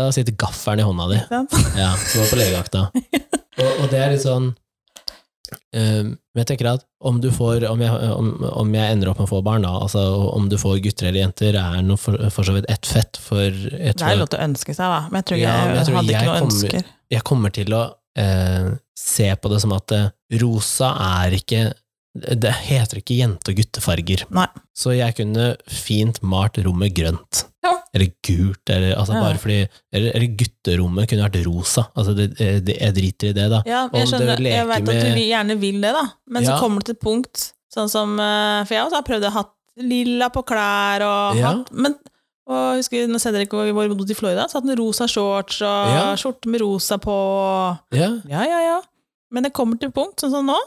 Speaker 1: Da sitter gaffelen i hånda di.
Speaker 2: ikke sant?
Speaker 1: Ja, som var på legevakta. Og, og det er litt sånn eh, Men jeg tenker at om du får om jeg, om, om jeg ender opp med å få barn, da, altså om du får gutter eller jenter, er noe for, for så vidt ett fett, for jeg
Speaker 2: Det er jo
Speaker 1: tror
Speaker 2: lov til å ønske seg, da. Men jeg tror ikke
Speaker 1: Ja, men
Speaker 2: jeg,
Speaker 1: jeg tror
Speaker 2: hadde
Speaker 1: jeg
Speaker 2: ikke noe
Speaker 1: kommer-
Speaker 2: ønsker.
Speaker 1: jeg kommer til å eh, se på det som at eh, rosa er ikke det heter ikke jente- og guttefarger.
Speaker 2: Nei.
Speaker 1: Så jeg kunne fint malt rommet grønt.
Speaker 2: Ja.
Speaker 1: Eller gult, eller, altså
Speaker 2: Ja.
Speaker 1: bare fordi, eller, eller gutterommet kunne vært rosa. Altså det, det, jeg driter i det, da.
Speaker 2: Ja, jeg
Speaker 1: Om du
Speaker 2: skjønner. Jeg
Speaker 1: leker
Speaker 2: vet at
Speaker 1: med-
Speaker 2: du vil- gjerne vil det, da. Men
Speaker 1: Ja.
Speaker 2: så kommer det til et punkt, sånn som eh, For jeg også har prøvd å ha hatt lilla på klær og
Speaker 1: Ja.
Speaker 2: hatt Men og husker når Cedric var bodd i Florida, så hadde han rosa shorts og
Speaker 1: Ja.
Speaker 2: skjorte med rosa på.
Speaker 1: Ja.
Speaker 2: Ja, ja, ja. Men det kommer til et punkt, sånn som nå,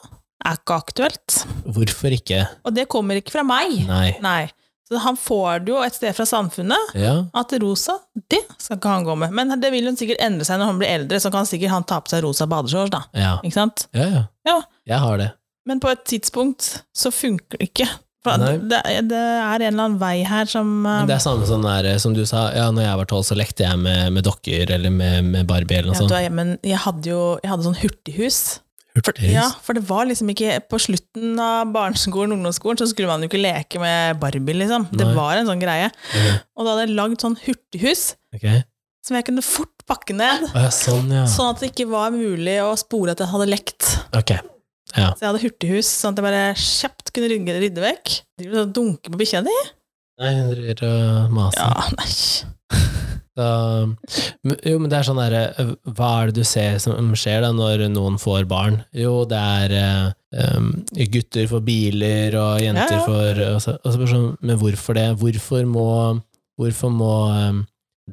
Speaker 2: er ikke aktuelt.
Speaker 1: Hvorfor ikke?
Speaker 2: Og det kommer ikke fra meg.
Speaker 1: Nei.
Speaker 2: Nei. Så han får det jo et sted fra samfunnet.
Speaker 1: Ja.
Speaker 2: At rosa, det skal ikke han gå med. Men det vil jo sikkert endre seg når han blir eldre, så kan sikkert han ta på seg rosa badeshorts, da.
Speaker 1: Ja,
Speaker 2: Ikke sant?
Speaker 1: ja, ja.
Speaker 2: Ja.
Speaker 1: Jeg har det.
Speaker 2: Men på et tidspunkt så funker det ikke. For
Speaker 1: Nei.
Speaker 2: det, det er en eller annen vei her som eh,
Speaker 1: Men det er samme sånn der, eh, som du sa, ja, når jeg var tolv, så lekte jeg med, med dokker eller med, med Barbie eller
Speaker 2: jeg,
Speaker 1: noe
Speaker 2: vet,
Speaker 1: sånt.
Speaker 2: hva, men jeg hadde jo jeg hadde sånn hurtighus.
Speaker 1: Hurtigst.
Speaker 2: Ja, for det var liksom ikke På slutten av barneskolen og ungdomsskolen så skulle man jo ikke leke med Barbie, liksom. Det
Speaker 1: Nei.
Speaker 2: var en sånn greie. Og da hadde jeg lagd sånn hurtighus
Speaker 1: Ok. Ok.
Speaker 2: som jeg kunne fort pakke ned,
Speaker 1: Å, ja, sånn, ja.
Speaker 2: sånn at det ikke var mulig å spore at jeg hadde lekt.
Speaker 1: Ok.
Speaker 2: Så jeg hadde hurtighus, sånn at jeg bare kjapt kunne rydde, rydde vekk. Du dunker på bikkja di?
Speaker 1: Nei, hun driver og maser.
Speaker 2: Ja, nei.
Speaker 1: Så, men- jo, men det er sånn derre Hva er det du ser som skjer da når noen får barn? Jo, det er eh, um, gutter får biler, og jenter
Speaker 2: Ja, ja.
Speaker 1: får og så, og så bare sånn, Men hvorfor det? Hvorfor må, hvorfor må um,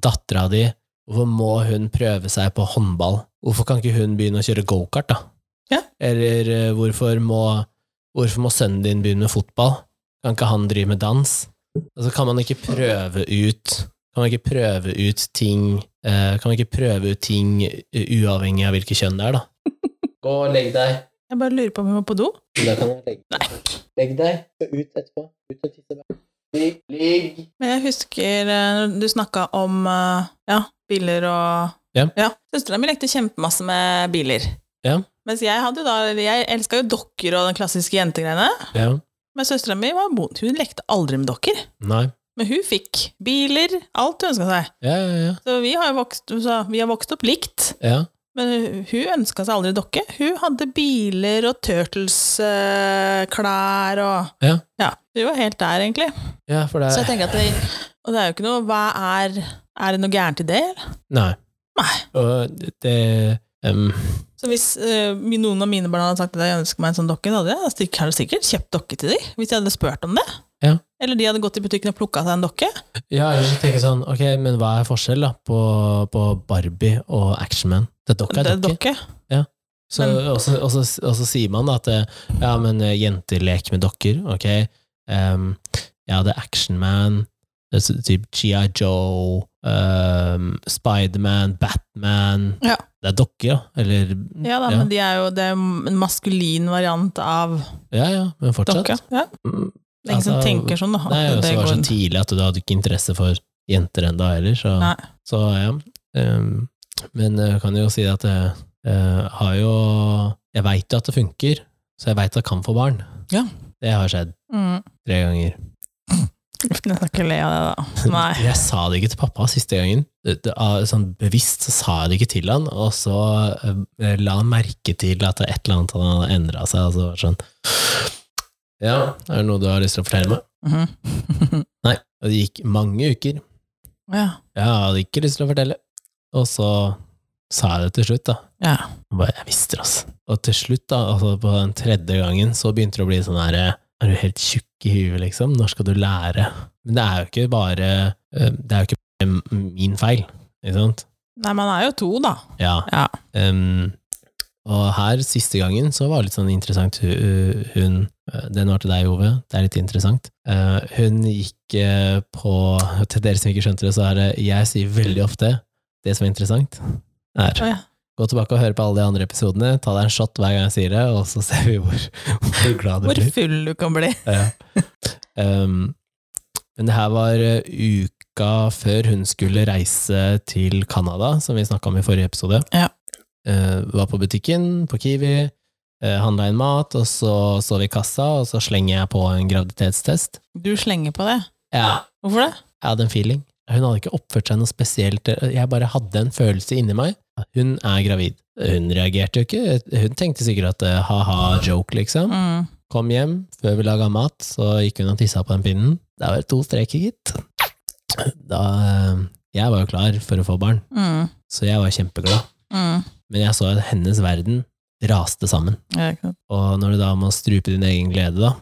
Speaker 1: dattera di Hvorfor må hun prøve seg på håndball? Hvorfor kan ikke hun begynne å kjøre gokart, da?
Speaker 2: Ja.
Speaker 1: Eller eh, hvorfor må, hvorfor må sønnen din begynne med fotball? Kan ikke han drive med dans? Altså, kan man ikke prøve ut Kan man ikke prøve ut ting eh, Kan man ikke prøve ut ting eh, uavhengig av hvilket kjønn det er, da? Gå og legg deg.
Speaker 2: Jeg bare lurer på om hun var på do.
Speaker 1: Da kan jeg legge
Speaker 2: Nei.
Speaker 1: Legg deg. Gå ut etterpå. Ut og tisse. Ligg. Ligg.
Speaker 2: Men jeg husker eh, du snakka om eh, ja, biler og
Speaker 1: Ja.
Speaker 2: Søstera mi lekte kjempemasse med biler.
Speaker 1: Ja.
Speaker 2: Mens jeg hadde jo da Jeg elska jo dokker og den klassiske jentegreiene.
Speaker 1: Ja.
Speaker 2: Men søstera mi var mot Hun lekte aldri med dokker.
Speaker 1: Nei.
Speaker 2: Men hun fikk biler, alt hun ønska seg.
Speaker 1: Ja, ja, ja.
Speaker 2: Så vi har jo vokst, så vi har vokst opp likt.
Speaker 1: ja.
Speaker 2: Men hun- hun ønska seg aldri dokke. Hun hadde biler og turtles-klær og
Speaker 1: Ja.
Speaker 2: Hun var helt der, egentlig.
Speaker 1: Ja, for det
Speaker 2: Så jeg
Speaker 1: er
Speaker 2: tenker at det, Og det er jo ikke noe Hva er Er det noe gærent i det? eller?
Speaker 1: Nei.
Speaker 2: Nei.
Speaker 1: Og det em,
Speaker 2: Så hvis eh, min- noen av mine barn hadde sagt at jeg ønsker meg en sånn dokke, da hadde jeg stikk- hadde sikkert kjøpt dokke til dem. Hvis jeg hadde spurt om det.
Speaker 1: Ja.
Speaker 2: Eller de hadde gått i butikken og plukka seg en dokke.
Speaker 1: Ja, eller så tenker jeg sånn Ok, men hva er forskjell da på, på Barbie og Actionman? Det er dokka,
Speaker 2: Det
Speaker 1: er
Speaker 2: er
Speaker 1: dokke.
Speaker 2: dokke.
Speaker 1: Så,
Speaker 2: Men-
Speaker 1: og, så, og, så, og så sier man da at eh, ja, men eh, jenter leker med dokker, ok? Ehm, ja, det er Actionman, typ G.I. Joe, um, Spiderman, Batman
Speaker 2: Ja.
Speaker 1: Det er dokker, ja. Eller
Speaker 2: Ja da,
Speaker 1: ja.
Speaker 2: men de er jo, det er jo en maskulin variant av
Speaker 1: ja, ja, men fortsatt.
Speaker 2: dokke. Ja.
Speaker 1: Mm,
Speaker 2: Det er ingen som
Speaker 1: Altså,
Speaker 2: tenker sånn, da. at
Speaker 1: Nei, og så
Speaker 2: det
Speaker 1: var det
Speaker 2: går-
Speaker 1: så tidlig at du hadde ikke interesse for jenter ennå heller, så,
Speaker 2: Nei.
Speaker 1: så ja. Ehm, men jeg kan jo si at jeg eh, har jo Jeg veit jo at det funker, så jeg veit at jeg kan få barn.
Speaker 2: Ja.
Speaker 1: Det har skjedd
Speaker 2: Mm.
Speaker 1: tre ganger.
Speaker 2: Jeg skal ikke le av det, da. Nei.
Speaker 1: Jeg sa det ikke til pappa siste gangen. Det, det, ah, sånn bevisst så sa jeg det ikke til han, og så eh, la han merke til at det er et eller annet han hadde endra seg, og så var det sånn Ja, er det noe du har lyst til å fortelle meg?
Speaker 2: Mhm.
Speaker 1: Nei. Og det gikk mange uker.
Speaker 2: ja.
Speaker 1: Jeg hadde ikke lyst til å fortelle. Og så sa jeg det til slutt, da.
Speaker 2: Ja.
Speaker 1: Jeg bare, jeg visste det, altså. Og til slutt, da, altså på den tredje gangen, så begynte det å bli sånn her Er du helt tjukk i huet, liksom? Når skal du lære? Men det er jo ikke bare eh, Det er jo ikke bare min feil, ikke sant?
Speaker 2: Nei, man er jo to, da.
Speaker 1: Ja.
Speaker 2: Ja.
Speaker 1: Em, og her, siste gangen, så var det litt sånn interessant Hu- Hun eh, Den var til deg, Ove. Det er litt interessant. Eh, Hun gikk eh, på Til dere som ikke skjønte det, så er det Jeg sier veldig ofte det som er interessant, er
Speaker 2: Å, ja.
Speaker 1: Gå tilbake og høre på alle de andre episodene, ta deg en shot hver gang jeg sier det, og så ser vi hvor, hvor glad du
Speaker 2: Hvor
Speaker 1: blir.
Speaker 2: full du kan bli.
Speaker 1: Ja. Um, men det her var uh, uka før hun skulle reise til Canada, som vi snakka om i forrige episode.
Speaker 2: Ja.
Speaker 1: Uh, var på butikken, på Kiwi, uh, handla inn mat, og så så vi kassa, og så slenger jeg på en graviditetstest.
Speaker 2: Du slenger på det.
Speaker 1: Ja,
Speaker 2: Hvorfor det?
Speaker 1: jeg hadde en feeling. Hun hadde ikke oppført seg noe spesielt, jeg bare hadde en følelse inni meg. Hun er gravid. Hun reagerte jo ikke, hun tenkte sikkert at eh, ha-ha, joke, liksom.
Speaker 2: Mm.
Speaker 1: Kom hjem, før vi laga mat, så gikk hun og tissa på den pinnen. Det var to streker, gitt. Da eh, Jeg var jo klar for å få barn,
Speaker 2: Mm.
Speaker 1: så jeg var kjempeglad.
Speaker 2: Mm.
Speaker 1: Men jeg så at hennes verden raste sammen.
Speaker 2: Ja, ikke sant.
Speaker 1: Og når du da må strupe din egen glede, da,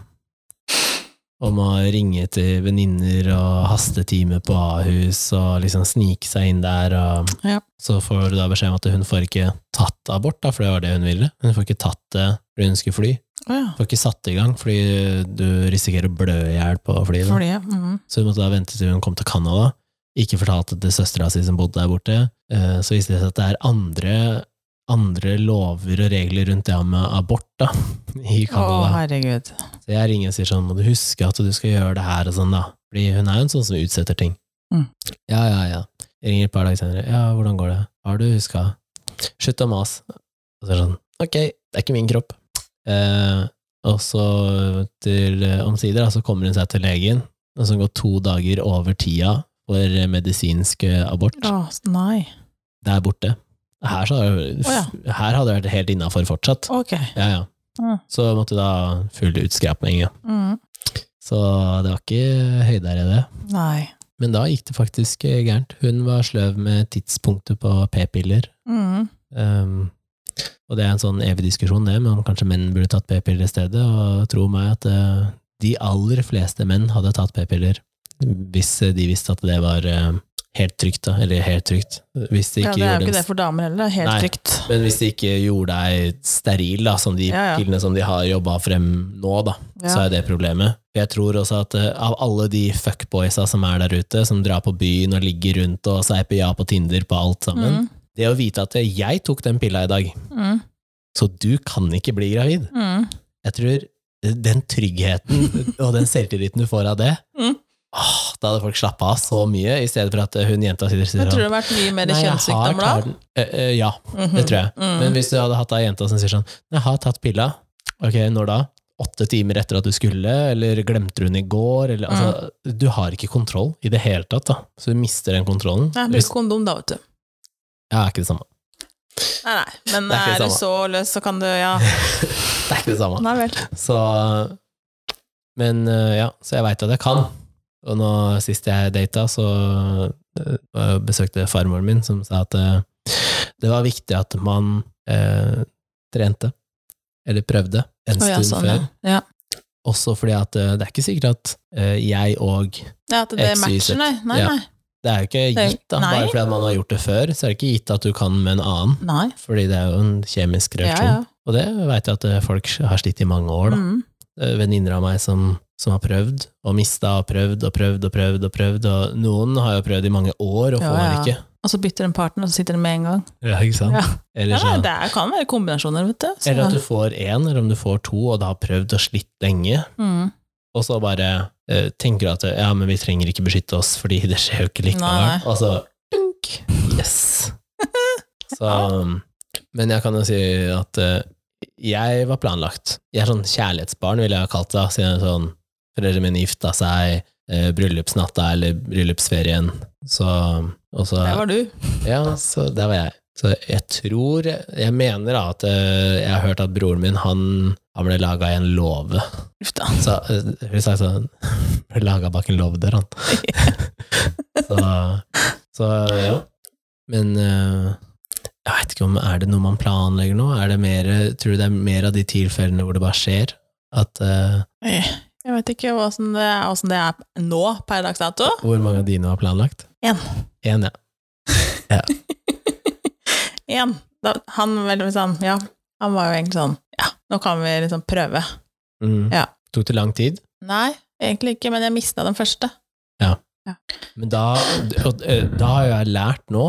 Speaker 1: og må ringe til venninner og haste time på Ahus og liksom snike seg inn der, og
Speaker 2: Ja.
Speaker 1: så får du da beskjed om at hun får ikke tatt abort, da, for det var det hun ville. Hun får ikke tatt det fordi hun skulle fly.
Speaker 2: Å, ja.
Speaker 1: Hun får ikke satt det i gang fordi du risikerer å blø i hjel på flyet. da.
Speaker 2: Fordi, ja. Mm.
Speaker 1: Så hun måtte da vente til hun kom til Canada. Ikke fortalte det til søstera si som bodde der borte. Eh, Så viste det seg at det er andre, andre lover og regler rundt det her med abort da, i
Speaker 2: Å,
Speaker 1: Canada.
Speaker 2: herregud.
Speaker 1: Så jeg ringer og sier sånn, må du huske at du skal gjøre det her og sånn da. Fordi hun er jo en sånn som utsetter ting.
Speaker 2: Mm.
Speaker 1: Ja, ja, ja. Jeg ringer et par dager senere. Ja, hvordan går det? Har du huska? Slutt å mase. Og så er det sånn, ok, Det er ikke min kropp. Eh, og så til eh, omsider da, så kommer hun seg til legen, og så går to dager over tida for eh, medisinsk eh, abort.
Speaker 2: Åh, s- nei.
Speaker 1: Der borte. Her, så,
Speaker 2: Å ja.
Speaker 1: her hadde jeg vært helt innafor fortsatt.
Speaker 2: Ok.
Speaker 1: Ja, ja.
Speaker 2: Mm.
Speaker 1: Så måtte da full utskrapning. Ja.
Speaker 2: Mm.
Speaker 1: Så det var ikke høydere, det.
Speaker 2: Nei.
Speaker 1: Men da gikk det faktisk eh, gærent. Hun var sløv med tidspunktet på p-piller.
Speaker 2: Mm.
Speaker 1: Um, og det er en sånn evig diskusjon, det, men om kanskje menn burde tatt p-piller i stedet. Og tro meg at eh, de aller fleste menn hadde tatt p-piller hvis eh, de visste at det var eh, helt trygt, da. Eller helt trygt. Hvis de ikke
Speaker 2: Ja, det er jo
Speaker 1: gjorde
Speaker 2: ikke
Speaker 1: en
Speaker 2: det for damer heller. Det er helt
Speaker 1: Nei.
Speaker 2: trygt.
Speaker 1: men hvis de ikke gjorde deg steril, da, som de
Speaker 2: Ja, ja.
Speaker 1: pillene som de har jobba frem nå, da,
Speaker 2: Ja.
Speaker 1: så er det problemet. For Jeg tror også at eh, av alle de fuckboysa som er der ute, som drar på byen og ligger rundt og seiper ja på Tinder på alt sammen,
Speaker 2: Mm.
Speaker 1: det å vite at jeg tok den pilla i dag,
Speaker 2: Mm.
Speaker 1: så du kan ikke bli gravid.
Speaker 2: Mm.
Speaker 1: Jeg tror den tryggheten og den selvtilliten du får av det,
Speaker 2: Mm.
Speaker 1: åh, da hadde folk slappa av så mye, i stedet for at hun jenta sitter og
Speaker 2: Jeg
Speaker 1: sier
Speaker 2: tror det
Speaker 1: sånn
Speaker 2: har vært mye mer
Speaker 1: «Nei, jeg har
Speaker 2: kjønnssykdommer da.
Speaker 1: klart den». Eh, eh, Ja,
Speaker 2: Mhm.
Speaker 1: det tror jeg.
Speaker 2: Mm.
Speaker 1: Men hvis du hadde hatt ei jente som sier sånn Jeg har tatt pilla. Ok, når da? Åtte timer etter at du skulle, eller glemte du den i går? Eller, altså,
Speaker 2: Mm.
Speaker 1: Du har ikke kontroll i det hele tatt, da. Så du mister den kontrollen.
Speaker 2: Nei,
Speaker 1: Hvis,
Speaker 2: bruk kondom da, vet du.
Speaker 1: ja, er ikke det samme.
Speaker 2: Nei, nei. Men
Speaker 1: Det er ikke det
Speaker 2: er, du
Speaker 1: samme.
Speaker 2: så løs, så kan du Ja.
Speaker 1: Det er ikke det samme.
Speaker 2: Nei vel.
Speaker 1: Så Men øh, ja, så jeg veit at jeg kan. Og nå sist jeg data, så øh, besøkte jeg farmoren min, som sa at øh, det var viktig at man øh, trente. Eller prøvde. En
Speaker 2: Å,
Speaker 1: stund
Speaker 2: ja, sånn,
Speaker 1: før.
Speaker 2: ja. Ja.
Speaker 1: Også fordi at eh, det er ikke sikkert at eh, jeg og
Speaker 2: ja, at det
Speaker 1: X, Y, Z.
Speaker 2: matcher, nei. Nei,
Speaker 1: Ja.
Speaker 2: nei.
Speaker 1: Det er jo ikke
Speaker 2: er jo-
Speaker 1: gitt, da.
Speaker 2: nei.
Speaker 1: Bare fordi at man har gjort det før, så er det ikke gitt at du kan med en annen.
Speaker 2: nei.
Speaker 1: Fordi det er jo en kjemisk
Speaker 2: Ja,
Speaker 1: reaksjon.
Speaker 2: ja.
Speaker 1: Og det veit jeg at eh, folk har slitt i mange år. da.
Speaker 2: Mm.
Speaker 1: Eh, Venninner av meg som, som har prøvd, og mista og prøvd og prøvd og prøvd. Og prøvd, og noen har jo prøvd i mange år og
Speaker 2: Ja,
Speaker 1: får
Speaker 2: ja.
Speaker 1: ikke.
Speaker 2: Og så bytter en partner, og så sitter den med en gang.
Speaker 1: Ja, ikke sant?
Speaker 2: Ja. Ja,
Speaker 1: Eller, så,
Speaker 2: nei, det sånn. er- kan være kombinasjoner, vet du. Så,
Speaker 1: eller at du får én, eller om du får to, og da har prøvd og slitt lenge.
Speaker 2: mm.
Speaker 1: Og så bare eh, tenker du at ja, men vi trenger ikke beskytte oss, fordi det skjer jo ikke
Speaker 2: Nei,
Speaker 1: likevel.
Speaker 2: nei.
Speaker 1: Og så dunk! Yes! Så, um, men jeg kan jo si at eh, jeg var planlagt. Jeg er sånn kjærlighetsbarn, ville jeg ha kalt det. da, Siden jeg er sånn, foreldrene mine gifta seg, eh, bryllupsnatta eller bryllupsferien. Så, um, og så,
Speaker 2: Der var du.
Speaker 1: ja, så der var jeg. Så jeg tror, jeg mener da at eh, jeg har hørt at broren min, han, han ble laga i en låve.
Speaker 2: Uff da.
Speaker 1: Så eh, hun sa sånn Ble laga bak en låvedør, han. så, så ja. Men eh, jeg veit ikke om Er det noe man planlegger nå? Er det mer, tror du det er mer av de tilfellene hvor det bare skjer? At eh,
Speaker 2: Jeg vet ikke åssen det, er- hvordan det er nå, per dags dato.
Speaker 1: Hvor mange av dine var planlagt?
Speaker 2: En.
Speaker 1: En, ja.
Speaker 2: Igjen. Da, han, vel, hvis han, ja, han var jo egentlig sånn Ja, nå kan vi liksom prøve.
Speaker 1: Mm.
Speaker 2: Ja.
Speaker 1: Tok det lang tid?
Speaker 2: Nei, egentlig ikke, men jeg mista den første.
Speaker 1: Men da, og, eh, da har jo jeg lært nå,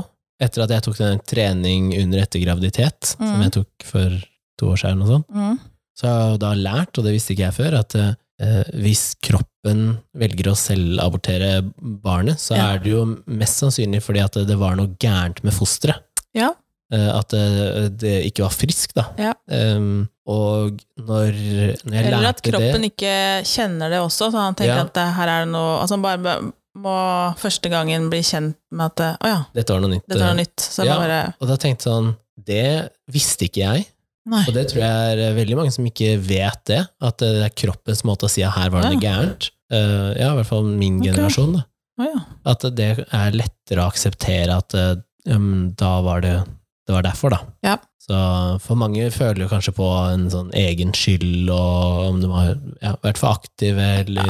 Speaker 1: etter at jeg tok den trening under etter graviditet, som
Speaker 2: Mm.
Speaker 1: jeg tok for to år siden og sånn,
Speaker 2: Mm.
Speaker 1: Så jeg har jo da lært, og det visste ikke jeg før, at eh, hvis kroppen velger å selvabortere barnet, så
Speaker 2: Ja.
Speaker 1: er det jo mest sannsynlig fordi at det var noe gærent med fosteret.
Speaker 2: Ja.
Speaker 1: Eh, at eh, det ikke var friskt, da.
Speaker 2: Ja.
Speaker 1: Em, og når, når jeg
Speaker 2: Eller at
Speaker 1: lærte det
Speaker 2: kroppen ikke kjenner det også, så han tenker
Speaker 1: Ja.
Speaker 2: at det, her er det noe Altså han bare be- må første gangen bli kjent med at det- Å ja,
Speaker 1: Dette var noe nytt.
Speaker 2: dette er
Speaker 1: eh,
Speaker 2: noe nytt. Så
Speaker 1: Ja.
Speaker 2: bare
Speaker 1: Og da tenkte jeg sånn Det visste ikke jeg,
Speaker 2: Nei.
Speaker 1: og det tror jeg er eh, veldig mange som ikke vet det. At eh, det er kroppens måte å si at her var det noe gærent. Eh, ja, i hvert fall min
Speaker 2: Ok.
Speaker 1: generasjon, da.
Speaker 2: Å ja.
Speaker 1: At det er lettere å akseptere at eh, um, da var det det var derfor, da.
Speaker 2: Ja.
Speaker 1: Så for mange føler jo kanskje på en sånn egen skyld, og om de har ja, vært for aktive, eller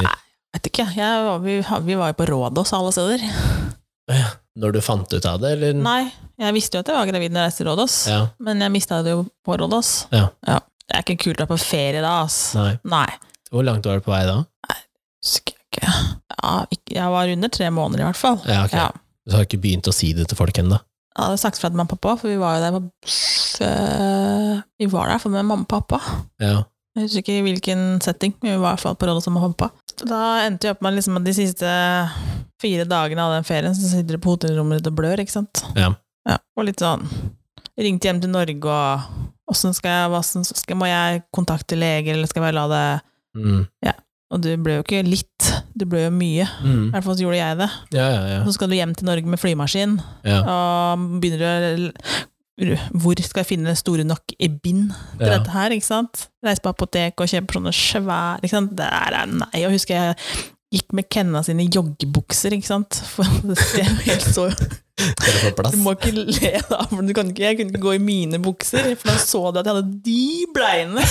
Speaker 2: Vet ikke. Jeg, var- vi, har- vi var jo på Rådås alle steder.
Speaker 1: når du fant ut av det, eller
Speaker 2: Nei, jeg visste jo at jeg var gravid når jeg reiste til Rådås,
Speaker 1: Mm. Ja,
Speaker 2: men jeg mista det jo på Rådås.
Speaker 1: Ja.
Speaker 2: Det er ikke kult å dra på ferie da, ass.
Speaker 1: nei.
Speaker 2: Nei.
Speaker 1: Hvor langt var det på vei da?
Speaker 2: Husker jeg ikke. Ja, ikke. Jeg var under tre måneder i hvert fall.
Speaker 1: Ja, ok.
Speaker 2: Ja.
Speaker 1: Du har ikke begynt å si det til folk ennå?
Speaker 2: Jeg hadde sagt fra til mamma og pappa, for vi var jo der på øh, Vi var der for med mamma og pappa.
Speaker 1: Ja.
Speaker 2: Jeg husker ikke i hvilken setting, men vi var i hvert fall på Rådås og mamma og pappa. Da endte jeg opp med liksom at de siste fire dagene av den ferien, så sitter du på hotellrommet ditt og blør, ikke sant?
Speaker 1: Ja.
Speaker 2: Og litt sånn Ringte hjem til Norge og Åssen skal jeg, hva som- skal, må jeg kontakte lege, eller skal jeg bare la det
Speaker 1: Mm.
Speaker 2: Og du ble jo ikke litt, du ble jo mye. I
Speaker 1: Mm.
Speaker 2: hvert fall så gjorde jeg det.
Speaker 1: Ja, ja, ja.
Speaker 2: Så skal du hjem til Norge med flymaskin,
Speaker 1: ja.
Speaker 2: og begynner du å Hvor skal jeg finne store nok i bind til
Speaker 1: ja.
Speaker 2: dette her, ikke sant? Reise på apotek og kjøpe sånne svære, ikke sant? Det er nei, jeg husker jeg gikk med Kenna sine joggebukser, ikke sant? For det er jo helt så
Speaker 1: Skal du få plass?
Speaker 2: Du må ikke le da, for du kan ikke, jeg kunne ikke gå i mine bukser, for da så du at jeg hadde de bleiene.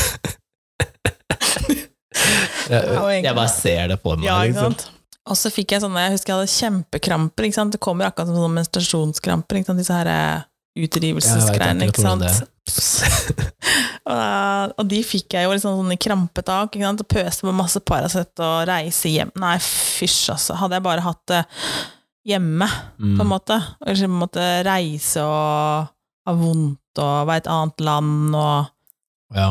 Speaker 2: Ja, og
Speaker 1: Jeg,
Speaker 2: egentlig-
Speaker 1: jeg bare ser det på meg.
Speaker 2: Ja, ikke
Speaker 1: liksom.
Speaker 2: sant? Og så fikk jeg sånne, jeg husker jeg hadde kjempekramper, ikke sant? Det kommer akkurat som sånne menstruasjonskramper, ikke sant? Disse her eh,
Speaker 1: Ja,
Speaker 2: utdrivelsesgreiene,
Speaker 1: jeg vet
Speaker 2: ikke
Speaker 1: akkurat hvordan
Speaker 2: sant?
Speaker 1: det er.
Speaker 2: og, da- og de fikk jeg jo liksom sånne krampetak, ikke sant? Og pøste på masse Paracet og reise hjem. Nei, fysj altså. Hadde jeg bare hatt det hjemme, på en
Speaker 1: Mm.
Speaker 2: måte. Og kanskje på en måte reise og ha vondt og være i et annet land og...
Speaker 1: Ja.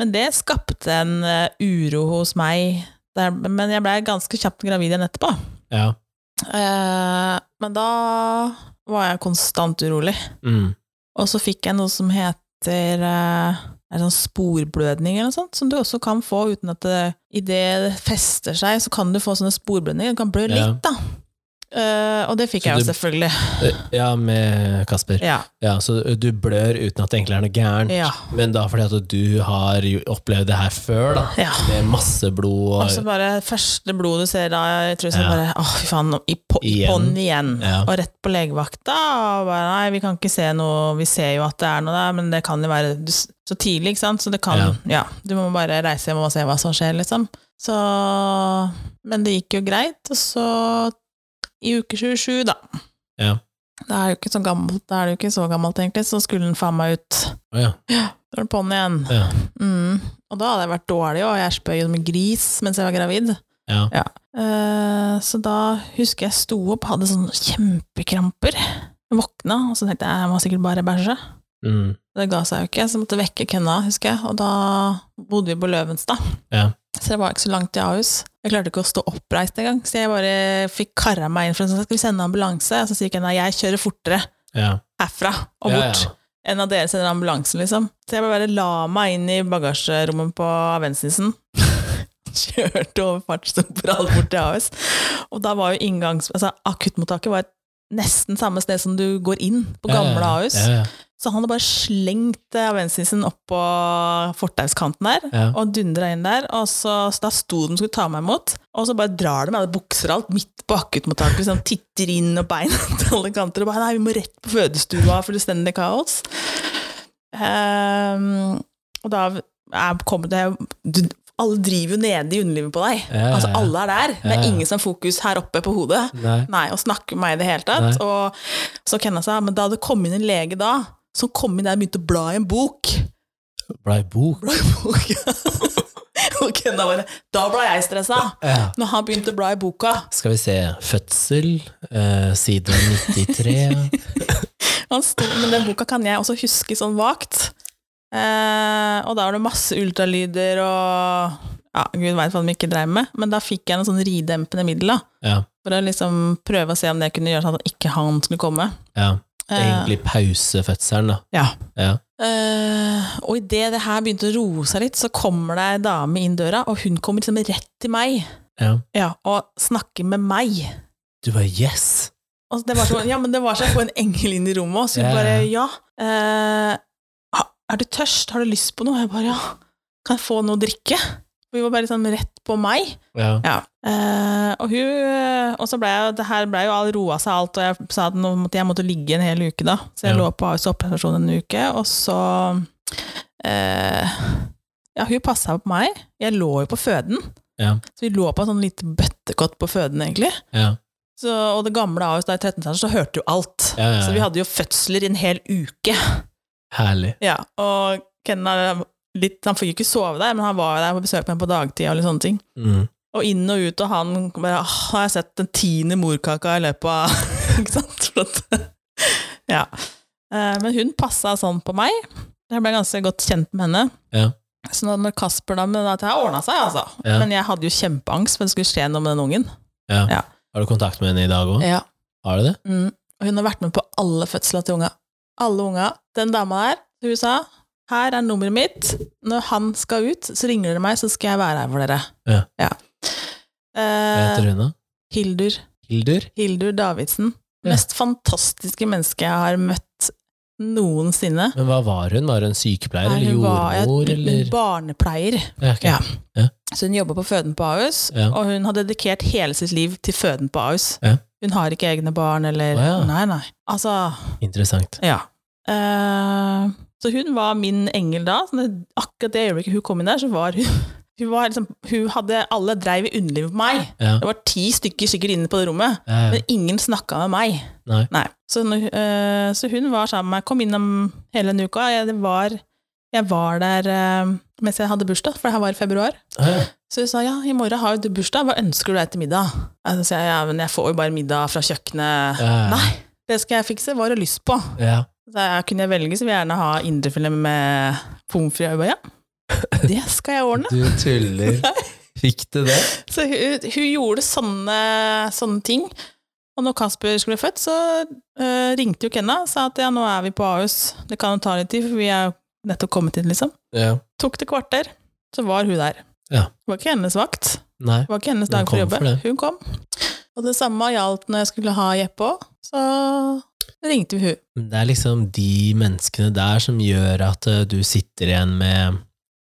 Speaker 2: Men det skapte en eh, uro hos meg. Der, men jeg ble ganske kjapt gravid igjen etterpå.
Speaker 1: ja.
Speaker 2: Eh, men da var jeg konstant urolig.
Speaker 1: Mm.
Speaker 2: Og så fikk jeg noe som heter eh, er det sånn sporblødning eller noe sånt, som du også kan få uten at det, i det det fester seg, så kan du få sånne sporblødninger. Du kan blø
Speaker 1: Ja.
Speaker 2: litt, da. Eh, og det
Speaker 1: Så
Speaker 2: fikk jeg jo
Speaker 1: du-
Speaker 2: selvfølgelig.
Speaker 1: ja, med Kasper.
Speaker 2: Ja.
Speaker 1: Ja, så du blør uten at det egentlig er noe gærent,
Speaker 2: ja,
Speaker 1: men da fordi at du har jo opplevd det her før, da.
Speaker 2: ja.
Speaker 1: Med masse blod og
Speaker 2: Og så bare første blodet du ser da, jeg tror sånn
Speaker 1: Ja.
Speaker 2: bare Åh, fy faen, i, på, i
Speaker 1: Igjen.
Speaker 2: på'n igjen.
Speaker 1: Ja.
Speaker 2: Og rett på legevakta. Og bare nei, vi kan ikke se noe, vi ser jo at det er noe der, men det kan jo være du, s- så tidlig, ikke sant, så det kan
Speaker 1: Ja.
Speaker 2: Ja, du må bare reise hjem og se hva som skjer, liksom. Så Men det gikk jo greit, og så i uke 27, da.
Speaker 1: Ja.
Speaker 2: Da er det jo ikke så gammelt, da er det jo ikke så gammelt, egentlig, så skulle den faen meg ut.
Speaker 1: Å ja.
Speaker 2: Da var den på'n igjen.
Speaker 1: Ja.
Speaker 2: Mm. Og da hadde jeg vært dårlig, og jeg spøy som en gris mens jeg var gravid.
Speaker 1: ja.
Speaker 2: Eh, Så da husker jeg sto opp, hadde sånne kjempekramper. Jeg Våkna, og så tenkte jeg jeg må sikkert bare bæsje.
Speaker 1: Mm.
Speaker 2: Det ga seg jo ikke, så jeg måtte vekke Kenna, husker jeg. Og da bodde vi på Løvenstad.
Speaker 1: Ja.
Speaker 2: Så det var ikke så langt til Ahus. Jeg klarte ikke å stå oppreist engang, så jeg bare fikk kara meg inn for en sånn, skal vi sende ambulanse? Og så sier Kenna, jeg kjører fortere
Speaker 1: ja.
Speaker 2: herfra og
Speaker 1: Ja,
Speaker 2: bort. enn at dere sender ambulansen, liksom. Så jeg bare la meg inn i bagasjerommet på Avensnisen. Kjørte over fartsdoperal bort til AS. Og da var jo inngangs... Altså, akuttmottaket var nesten samme sted som du går inn på
Speaker 1: Ja, ja,
Speaker 2: gamle
Speaker 1: ja.
Speaker 2: Ahus.
Speaker 1: Ja, ja.
Speaker 2: Så han hadde bare slengt eh, Avensnisen opp på fortauskanten der.
Speaker 1: Ja.
Speaker 2: Og dundra inn der, og så, så da sto de og skulle ta meg imot. Og så bare drar de, jeg hadde bukser og alt, midt på akuttmottaket. Liksom, titter inn og beina til alle kanter. Og bare nei, vi må rett på fødestua, fullstendig kaos. Ehm, og da er, kommer det du, Alle driver jo nede i underlivet på deg.
Speaker 1: Ja, ja, ja.
Speaker 2: Altså, alle er der. Det
Speaker 1: Ja,
Speaker 2: er
Speaker 1: ja.
Speaker 2: ingen som har fokus her oppe på hodet.
Speaker 1: Nei.
Speaker 2: Nei, og snakke med meg i det hele tatt. Og så Kenna sa, men da hadde det kommet inn en lege da, som kom inn der og begynte å bla i en bok.
Speaker 1: Blei bok.
Speaker 2: Bla i bok. og Kenna bare, da ble jeg stressa.
Speaker 1: Ja.
Speaker 2: Når han begynte å bla i boka.
Speaker 1: Skal vi se. Fødsel, eh, side 93.
Speaker 2: Han sto, men den boka kan jeg også huske sånn vagt. Eh, og da var det masse ultralyder og ja, gud veit hva de ikke dreiv med. Men da fikk jeg noen sånn ridempende middel da,
Speaker 1: ja.
Speaker 2: for å liksom prøve å se om det kunne gjøre sånn at ikke han skulle komme.
Speaker 1: ja.
Speaker 2: Eh,
Speaker 1: Egentlig pausefødselen, da.
Speaker 2: ja.
Speaker 1: Ja.
Speaker 2: Eh, og idet det her begynte å roe seg litt, så kommer det ei dame inn døra, og hun kommer liksom rett til meg
Speaker 1: ja.
Speaker 2: ja, og snakker med meg.
Speaker 1: Du bare yes!
Speaker 2: Og det var, så, ja, men det var som å få en engel inn i rommet, og så hun
Speaker 1: Ja, ja,
Speaker 2: bare
Speaker 1: ja.
Speaker 2: ja. eh, ha- er du tørst? Har du lyst på noe? Jeg bare ja. Kan jeg få noe å drikke? Vi var bare liksom rett på meg.
Speaker 1: Ja.
Speaker 2: Ja. Eh, og hun Og så ble jeg Det her ble jo all roa seg alt, og jeg sa at nå måtte, jeg måtte ligge en hel uke, da. Så jeg
Speaker 1: Ja.
Speaker 2: lå på AUS operasjon en uke, og så eh, Ja, hun passa på meg. Jeg lå jo på føden.
Speaker 1: Ja.
Speaker 2: Så vi lå på en sånn lite bøttekott på føden, egentlig.
Speaker 1: Ja.
Speaker 2: Så, og det gamle AUS da i 13-tallet, så hørte jo alt.
Speaker 1: Ja, ja,
Speaker 2: Så vi
Speaker 1: ja.
Speaker 2: hadde jo fødsler i en hel uke.
Speaker 1: Herlig.
Speaker 2: Ja, og Kenna litt, Han fikk jo ikke sove der, men han var jo der på besøk med meg på dagtid og litt sånne ting.
Speaker 1: Mm.
Speaker 2: Og inn og ut, og han bare «Ah, Har jeg sett den tiende morkaka i løpet av Ikke sant? For at, ja. Eh, Men hun passa sånn på meg. Jeg ble ganske godt kjent med henne.
Speaker 1: Ja.
Speaker 2: Så når- når Kasper da Men at det ordna seg, altså.
Speaker 1: Ja.
Speaker 2: Men jeg hadde jo kjempeangst for det skulle skje noe med den ungen.
Speaker 1: Har du kontakt med henne i dag òg?
Speaker 2: Ja.
Speaker 1: Har du det?
Speaker 2: Mm. Og hun har vært med på alle fødsler til unga. Alle unga. Den dama der, hun sa Her er nummeret mitt. Når han skal ut, så ringer dere meg, så skal jeg være her for dere.
Speaker 1: Ja. Hva
Speaker 2: Eh,
Speaker 1: heter hun, da?
Speaker 2: Hildur.
Speaker 1: Hildur?
Speaker 2: Hildur Davidsen.
Speaker 1: Ja.
Speaker 2: Mest fantastiske menneske jeg har møtt noensinne.
Speaker 1: Men hva var hun? Var hun sykepleier
Speaker 2: Nei,
Speaker 1: eller
Speaker 2: hun var et-
Speaker 1: jordmor,
Speaker 2: en
Speaker 1: eller
Speaker 2: barnepleier.
Speaker 1: ja, ok.
Speaker 2: ja.
Speaker 1: Ja.
Speaker 2: Så hun jobber på føden på Ahus,
Speaker 1: Ja.
Speaker 2: og hun har dedikert hele sitt liv til føden på Ahus.
Speaker 1: Ja.
Speaker 2: Hun har ikke egne barn, eller
Speaker 1: Å, ja.
Speaker 2: Nei, nei. Altså,
Speaker 1: Interessant.
Speaker 2: ja. Eh, så hun var min engel da. Sånn, at akkurat det øyeblikket hun kom inn der, så var hun Hun, var liksom, hun hadde Alle dreiv i underlivet på meg.
Speaker 1: Ja.
Speaker 2: Det var ti stykker sikkert inne på det rommet,
Speaker 1: Ja, ja.
Speaker 2: men ingen snakka med meg.
Speaker 1: Nei.
Speaker 2: Så, når- eh, så hun var sammen med meg, kom innom hele denne uka. Jeg, det var, jeg var der eh, mens jeg hadde bursdag, for det her var i februar.
Speaker 1: Ja,
Speaker 2: Så hun sa ja, i morgen har jo du bursdag, hva ønsker du deg til middag? Jeg sa jeg, ja, men jeg får jo bare middag fra kjøkkenet.
Speaker 1: ja.
Speaker 2: Nei, det skal jeg fikse, hva har du lyst på?
Speaker 1: Ja.
Speaker 2: Så jeg kunne jeg velge, så vil jeg gjerne ha indrefilet med pommes frites. Og jeg bare, ja, det skal jeg ordne.
Speaker 1: Du tuller. Fikk du det?
Speaker 2: Så hun, hun gjorde sånne, sånne ting. Og når Kasper skulle bli født, så eh, ringte jo Kenna og sa at ja, nå er vi på Ahus. Det kan jo ta litt tid, for vi er jo nettopp kommet inn, liksom.
Speaker 1: Ja.
Speaker 2: Tok det kvarter, så var hun der.
Speaker 1: Ja.
Speaker 2: Det var ikke hennes vakt.
Speaker 1: Nei.
Speaker 2: Det var ikke hennes
Speaker 1: Men
Speaker 2: dag for å
Speaker 1: kom
Speaker 2: jobbe.
Speaker 1: for det.
Speaker 2: hun kom. Og det samme gjaldt når jeg skulle ha Jeppe òg. Så ringte vi hun.
Speaker 1: Men Det er liksom de menneskene der som gjør at eh, du sitter igjen med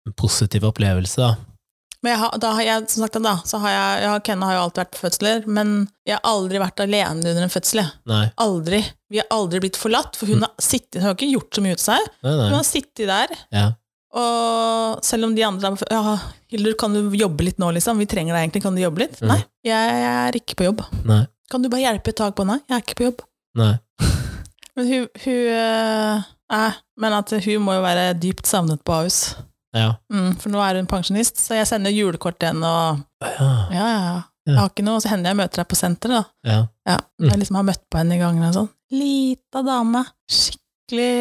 Speaker 1: en positiv opplevelse, da.
Speaker 2: Men jeg har, da har jeg, som sagt, da, så har jeg, jeg har, Kenna har jo alltid vært på fødsler, men jeg har aldri vært alene under en fødsel. jeg.
Speaker 1: Nei,
Speaker 2: Aldri. Vi har aldri blitt forlatt, for hun har, sittet, hun har ikke gjort så mye ut av seg.
Speaker 1: nei,
Speaker 2: Hun
Speaker 1: Mm. nei.
Speaker 2: har sittet der,
Speaker 1: Ja.
Speaker 2: og selv om de andre er på fø- Ja, Hildur, kan du jobbe litt nå, liksom? Vi trenger deg egentlig, kan du jobbe litt?
Speaker 1: Mm.
Speaker 2: Nei, jeg, er ikke på jobb.
Speaker 1: Nei.
Speaker 2: Kan du bare hjelpe et tak på? Nei, jeg er ikke på jobb.
Speaker 1: Nei.
Speaker 2: Men hun, hun øh, eh, Men at hun må jo være dypt savnet på Ahus.
Speaker 1: Ja.
Speaker 2: Mm, for nå er hun pensjonist, så jeg sender julekort til henne og
Speaker 1: Ja.
Speaker 2: Ja, ja, ja.
Speaker 1: Ja. Mm.
Speaker 2: Jeg har ikke noe, så hender jeg møter deg på senteret, da.
Speaker 1: ja.
Speaker 2: Ja, jeg liksom har møtt på henne i gangen og sånn. Lita dame. Skikkelig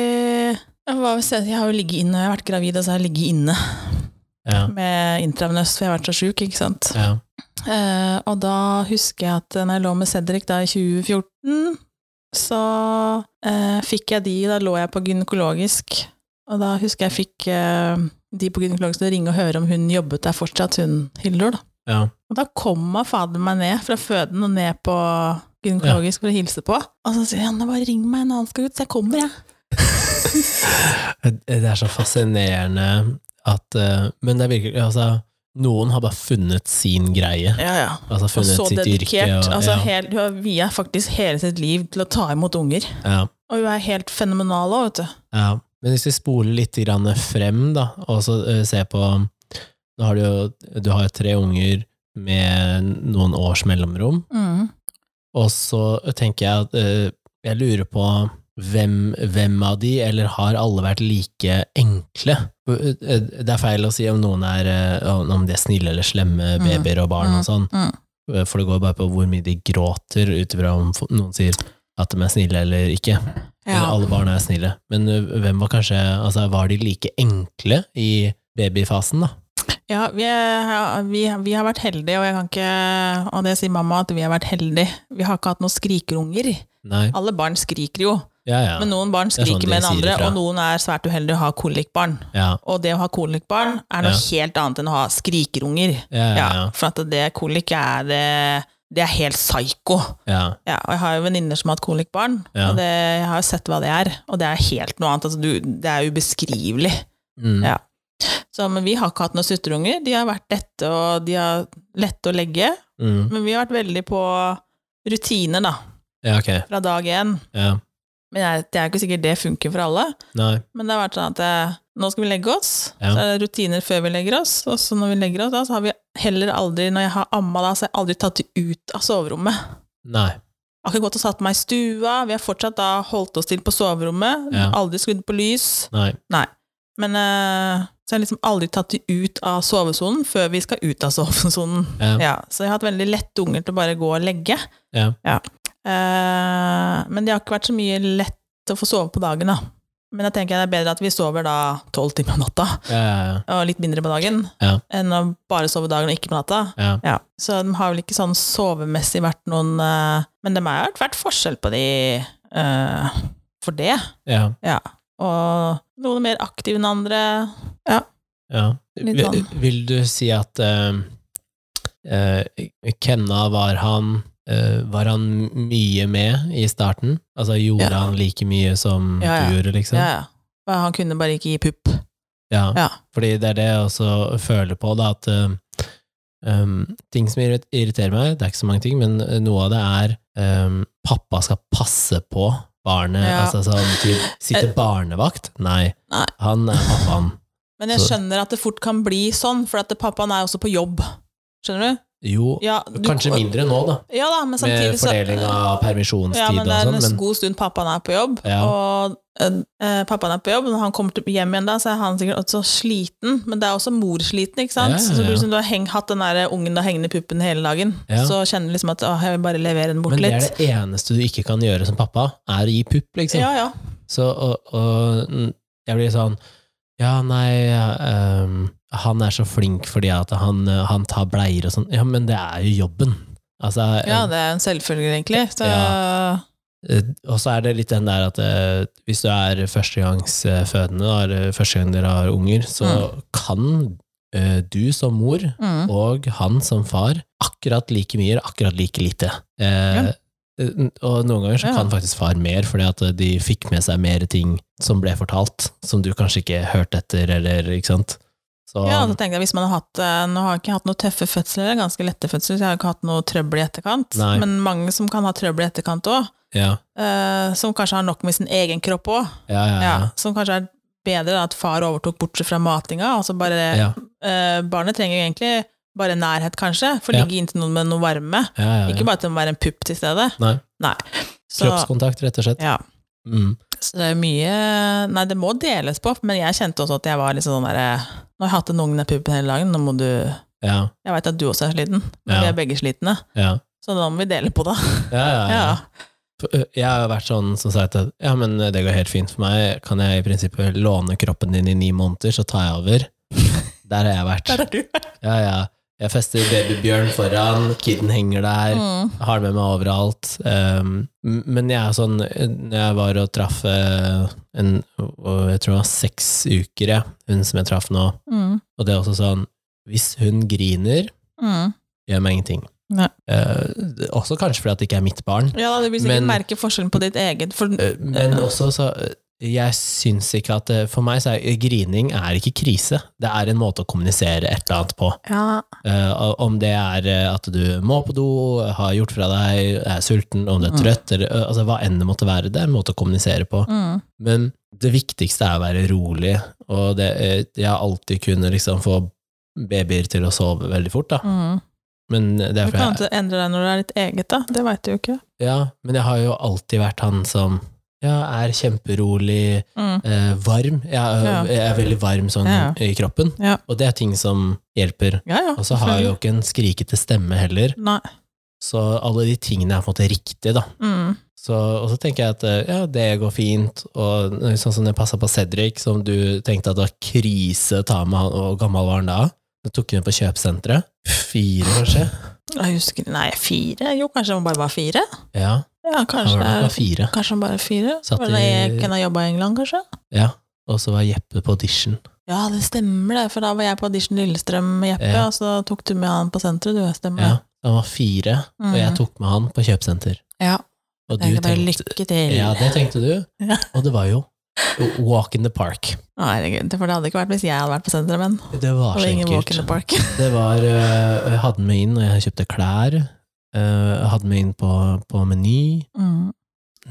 Speaker 2: jeg, var jo se- jeg har jo ligget inne, jeg har vært gravid, og så har jeg ligget inne
Speaker 1: Ja.
Speaker 2: med intravenøs, for jeg har vært så sjuk, ikke sant.
Speaker 1: Ja.
Speaker 2: Eh, og da husker jeg at når jeg lå med Cedric da i 2014, så eh, fikk jeg de, da lå jeg på gynekologisk, og da husker jeg fikk eh, de på gynekologisk til å ringe og høre om hun jobbet der fortsatt, hun Hildur, da.
Speaker 1: Ja.
Speaker 2: Og da kom han fader meg ned fra føden og ned på gynekologisk for å hilse på. Og så sier han bare ring meg når han skal ut, så jeg kommer, jeg.
Speaker 1: Det er så fascinerende at eh, Men det er virkelig Altså, noen har bare funnet sin greie.
Speaker 2: Ja, ja.
Speaker 1: Altså
Speaker 2: Og
Speaker 1: funnet
Speaker 2: så
Speaker 1: sitt yrke.
Speaker 2: dedikert.
Speaker 1: og-
Speaker 2: altså,
Speaker 1: ja.
Speaker 2: hel, hun har viet faktisk hele sitt liv til å ta imot unger.
Speaker 1: Ja.
Speaker 2: Og hun er helt fenomenal òg, vet du.
Speaker 1: Ja, men hvis vi spoler litt grann frem, da, og så eh, ser på Nå har du jo du har jo tre unger med noen års mellomrom,
Speaker 2: Mm.
Speaker 1: og så tenker jeg at eh, jeg lurer på hvem, hvem av de, eller har alle vært like enkle? Eh, Det er feil å si om noen er eh, om de er snille eller slemme
Speaker 2: Mm.
Speaker 1: babyer og barn og sånn,
Speaker 2: Mm.
Speaker 1: Eh, for det går bare på hvor mye de gråter ut ifra om f- noen sier at de er snille eller ikke.
Speaker 2: Ja.
Speaker 1: Eller alle barna er snille. Men ø, hvem var kanskje altså, Var de like enkle i babyfasen, da?
Speaker 2: ja, vi, er, ja vi, vi har vært heldige, og jeg kan ikke Og det sier mamma, at vi har vært heldige. Vi har ikke hatt noen skrikerunger.
Speaker 1: Nei.
Speaker 2: Alle barn skriker jo,
Speaker 1: Ja, ja.
Speaker 2: men noen barn
Speaker 1: er sånn
Speaker 2: skriker
Speaker 1: de
Speaker 2: mer enn
Speaker 1: sier det
Speaker 2: andre,
Speaker 1: fra.
Speaker 2: og noen er svært uheldige og har kolikkbarn.
Speaker 1: ja,
Speaker 2: Og det å ha kolikkbarn er noe helt annet enn å ha skrikerunger.
Speaker 1: ja, ja,
Speaker 2: Ja,
Speaker 1: ja,
Speaker 2: For at det kolikk er eh, Det er helt psyko.
Speaker 1: ja.
Speaker 2: Ja, og jeg har jo venninner som har hatt kolikkbarn,
Speaker 1: Ja.
Speaker 2: og det, jeg har jo sett hva det er. Og det er helt noe annet. Altså, du, det er ubeskrivelig.
Speaker 1: Mm.
Speaker 2: Ja. Så, men vi har ikke hatt noen sutrunger. De har vært lette, og de har lette å legge.
Speaker 1: Mm.
Speaker 2: Men vi har vært veldig på rutiner, da,
Speaker 1: ja ok.
Speaker 2: fra dag én.
Speaker 1: Ja.
Speaker 2: Men jeg, det er ikke sikkert det funker for alle.
Speaker 1: Nei.
Speaker 2: Men det har vært sånn at eh, nå skal vi legge oss,
Speaker 1: Ja.
Speaker 2: så er det rutiner før vi legger oss, og så når vi legger oss da, så har vi heller aldri, når jeg har amma da, så har jeg aldri tatt det ut av soverommet.
Speaker 1: Nei.
Speaker 2: Jeg har ikke gått og satt meg i stua, vi har fortsatt da holdt oss til på soverommet,
Speaker 1: Ja.
Speaker 2: aldri skrudd på lys,
Speaker 1: Nei.
Speaker 2: men eh, så har jeg liksom aldri tatt det ut av sovesonen før vi skal ut av sovesonen.
Speaker 1: Ja.
Speaker 2: Ja, så jeg har hatt veldig lette unger til å bare gå og legge.
Speaker 1: Ja.
Speaker 2: Eh, men det har ikke vært så mye lett å få sove på dagen, da. Men jeg tenker det er bedre at vi sover da tolv timer om natta,
Speaker 1: Ja, ja,
Speaker 2: og litt mindre på dagen,
Speaker 1: Ja.
Speaker 2: enn å bare sove dagen og ikke på natta.
Speaker 1: ja.
Speaker 2: Ja. Så de har vel ikke sånn sovemessig vært noen eh, Men det har vært forskjell på de eh, for det.
Speaker 1: ja.
Speaker 2: Ja. og noen er mer aktive enn andre.
Speaker 1: Ja.
Speaker 2: Litt
Speaker 1: Vil,
Speaker 2: sånn.
Speaker 1: vil du si at eh, eh, Kenna, var han eh, Var han mye med i starten? Altså gjorde
Speaker 2: Ja.
Speaker 1: han like mye som
Speaker 2: Ja, ja.
Speaker 1: du gjorde, liksom?
Speaker 2: Ja, ja. Og Han kunne bare ikke gi pupp.
Speaker 1: Ja.
Speaker 2: Ja.
Speaker 1: Fordi det er det jeg også føler på, da, at eh, um, ting som irrit- irriterer meg, det er ikke så mange ting, men eh, noe av det er um, pappa skal passe på barnet,
Speaker 2: Ja.
Speaker 1: altså sånn typ, sitter
Speaker 2: Eh.
Speaker 1: barnevakt? Nei,
Speaker 2: Nei.
Speaker 1: han er pappaen.
Speaker 2: Men jeg
Speaker 1: Så-
Speaker 2: skjønner at det fort kan bli sånn, for at pappaen er også på jobb. Skjønner du?
Speaker 1: Jo,
Speaker 2: Ja, du
Speaker 1: kanskje mindre nå, da,
Speaker 2: Ja da, men
Speaker 1: med
Speaker 2: samtidig så
Speaker 1: fordeling av permisjonstid
Speaker 2: Ja, men det er
Speaker 1: og
Speaker 2: en
Speaker 1: sånn, men
Speaker 2: god stund pappaen er på jobb,
Speaker 1: Ja.
Speaker 2: og eh, pappaen er på jobb, når han kommer til- hjem igjen da, så er han sikkert også sliten, men det er også morsliten, ikke sant?
Speaker 1: Ja, ja,
Speaker 2: Så du,
Speaker 1: ja.
Speaker 2: liksom, du har heng, hatt den der ungen da hengende i puppen hele dagen,
Speaker 1: Ja.
Speaker 2: så kjenner du liksom at åh, jeg vil bare levere den bort
Speaker 1: men det er
Speaker 2: litt.
Speaker 1: det eneste du ikke kan gjøre som pappa, er å gi pupp, liksom.
Speaker 2: Ja, ja.
Speaker 1: Så, og, og mm, jeg blir sånn Ja, nei ehm, Han er så flink fordi at han, eh, han tar bleier og sånn. Ja, men det er jo jobben. Altså,
Speaker 2: Ja, det er en selvfølge egentlig. Så,
Speaker 1: eh, og så er det litt den der at eh, hvis du er førstegangsfødende, da, eller første gang dere har unger, så kan eh, du som mor
Speaker 2: mm.
Speaker 1: og han som far akkurat like mye eller akkurat like lite. Eh,
Speaker 2: Ja.
Speaker 1: n- Og noen ganger så
Speaker 2: Ja.
Speaker 1: kan faktisk far mer, fordi at de fikk med seg mer ting som ble fortalt, som du kanskje ikke hørte etter, eller ikke sant. Så,
Speaker 2: Ja, og så tenkte jeg hvis man har hatt eh, Nå har jeg ikke hatt noen tøffe fødsler, det er ganske lette fødsler, så jeg har ikke hatt noe trøbbel i etterkant.
Speaker 1: Nei.
Speaker 2: Men mange som kan ha trøbbel i etterkant òg,
Speaker 1: ja,
Speaker 2: som kanskje har nok med sin egen kropp òg.
Speaker 1: ja, ja, ja.
Speaker 2: Ja, som kanskje er bedre da, at far overtok bortsett fra matinga. Altså bare,
Speaker 1: Ja,
Speaker 2: eh, barnet trenger jo egentlig bare nærhet, kanskje, for å
Speaker 1: Ja.
Speaker 2: ligge inntil noen med noe varme.
Speaker 1: ja, ja, ja.
Speaker 2: Ikke bare til å være en pupp til stedet.
Speaker 1: Nei.
Speaker 2: Så,
Speaker 1: Kroppskontakt, rett og slett.
Speaker 2: ja.
Speaker 1: Mm.
Speaker 2: så det er mye Nei, det må deles på, men jeg kjente også at jeg var litt sånn derre Nå har jeg hatt en unge i puppen hele dagen, nå må du Jeg
Speaker 1: Ja,
Speaker 2: veit at du også er sliten, men
Speaker 1: Ja.
Speaker 2: vi er begge slitne,
Speaker 1: ja.
Speaker 2: så da må vi dele på det.
Speaker 1: Ja, ja, ja.
Speaker 2: Ja.
Speaker 1: For, ø, Jeg har vært sånn som sagt at ja, men det går helt fint for meg. Kan jeg i prinsippet låne kroppen din i ni måneder, så tar jeg over? Der har jeg vært.
Speaker 2: Der er du.
Speaker 1: Ja, ja. Jeg fester babybjørn foran, kiden henger der,
Speaker 2: Mm.
Speaker 1: har det med meg overalt. Um, m- men jeg er sånn, eh, når jeg var og traff eh, en, og jeg tror det var seks uker, jeg, hun som jeg traff nå,
Speaker 2: Mm.
Speaker 1: og det er også sånn, hvis hun griner,
Speaker 2: Mm.
Speaker 1: gjør meg ingenting.
Speaker 2: Nei.
Speaker 1: Eh, det- også kanskje fordi at det ikke er mitt barn,
Speaker 2: Ja, da, du vil sikkert
Speaker 1: Men-
Speaker 2: merke forskjellen på ditt eget, for
Speaker 1: Eh, men også så, eh, jeg syns ikke at, eh, for meg så er grining er ikke krise, det er en måte å kommunisere et eller annet på.
Speaker 2: ja,
Speaker 1: Eh, om det er eh, at du må på do, har gjort fra deg, er sulten, om du er
Speaker 2: Mm.
Speaker 1: trøtt, eller eh, altså, hva enn det måtte være. Det er en måte å kommunisere på.
Speaker 2: mm.
Speaker 1: Men det viktigste er å være rolig, og det, eh, jeg har alltid kunnet liksom få babyer til å sove veldig fort, da.
Speaker 2: Mm.
Speaker 1: Men det er
Speaker 2: Du kan
Speaker 1: fordi jeg,
Speaker 2: ikke endre deg når det er ditt eget, da. Det veit du jo ikke.
Speaker 1: ja, men jeg har jo alltid vært han som ja, er kjemperolig,
Speaker 2: Mm.
Speaker 1: eh, varm. Jeg, er-
Speaker 2: Ja.
Speaker 1: jeg er veldig varm sånn
Speaker 2: Ja.
Speaker 1: i kroppen,
Speaker 2: Ja.
Speaker 1: og det er ting som hjelper.
Speaker 2: Ja, ja.
Speaker 1: Og så har jeg jo ikke en skrikete stemme heller.
Speaker 2: Nei.
Speaker 1: Så alle de tingene er på en måte riktig, da.
Speaker 2: Mm.
Speaker 1: Så, og så tenker jeg at eh, ja, det går fint, og sånn som jeg passa på Cedric, som du tenkte at det var krise å ta med han, og hvor gammel var han da? Da tok vi ham på kjøpesenteret. Fire, kanskje?
Speaker 2: Jeg husker ikke Nei, fire? Jo, kanskje han bare var fire?
Speaker 1: Ja,
Speaker 2: Ja,
Speaker 1: han var,
Speaker 2: kanskje det
Speaker 1: han
Speaker 2: er
Speaker 1: var fire.
Speaker 2: Kanskje han bare er fire?
Speaker 1: Satt
Speaker 2: var det
Speaker 1: i-
Speaker 2: jeg kunne jobba i England, kanskje?
Speaker 1: Ja. Og så var Jeppe på audition.
Speaker 2: Ja, det stemmer det, for da var jeg på audition Lillestrøm med Jeppe,
Speaker 1: Ja.
Speaker 2: og så tok du med han på senteret, du. Stemmer det.
Speaker 1: Ja, han var fire, og jeg
Speaker 2: Mm.
Speaker 1: tok med han på kjøpesenter.
Speaker 2: Ja.
Speaker 1: Og
Speaker 2: Jeg
Speaker 1: du
Speaker 2: kan bare
Speaker 1: tenkte
Speaker 2: lykke til.
Speaker 1: Ja, det tenkte du.
Speaker 2: Ja.
Speaker 1: Og det var jo walk in the park.
Speaker 2: Å, Herregud, for det hadde ikke vært hvis jeg hadde vært på senteret, men.
Speaker 1: Det var
Speaker 2: Det
Speaker 1: så
Speaker 2: var ingen walk
Speaker 1: enkelt.
Speaker 2: in the park.
Speaker 1: Det var øh, Jeg hadde med inn, og jeg kjøpte klær. øh, Jeg hadde med inn på, på Meny.
Speaker 2: Mm.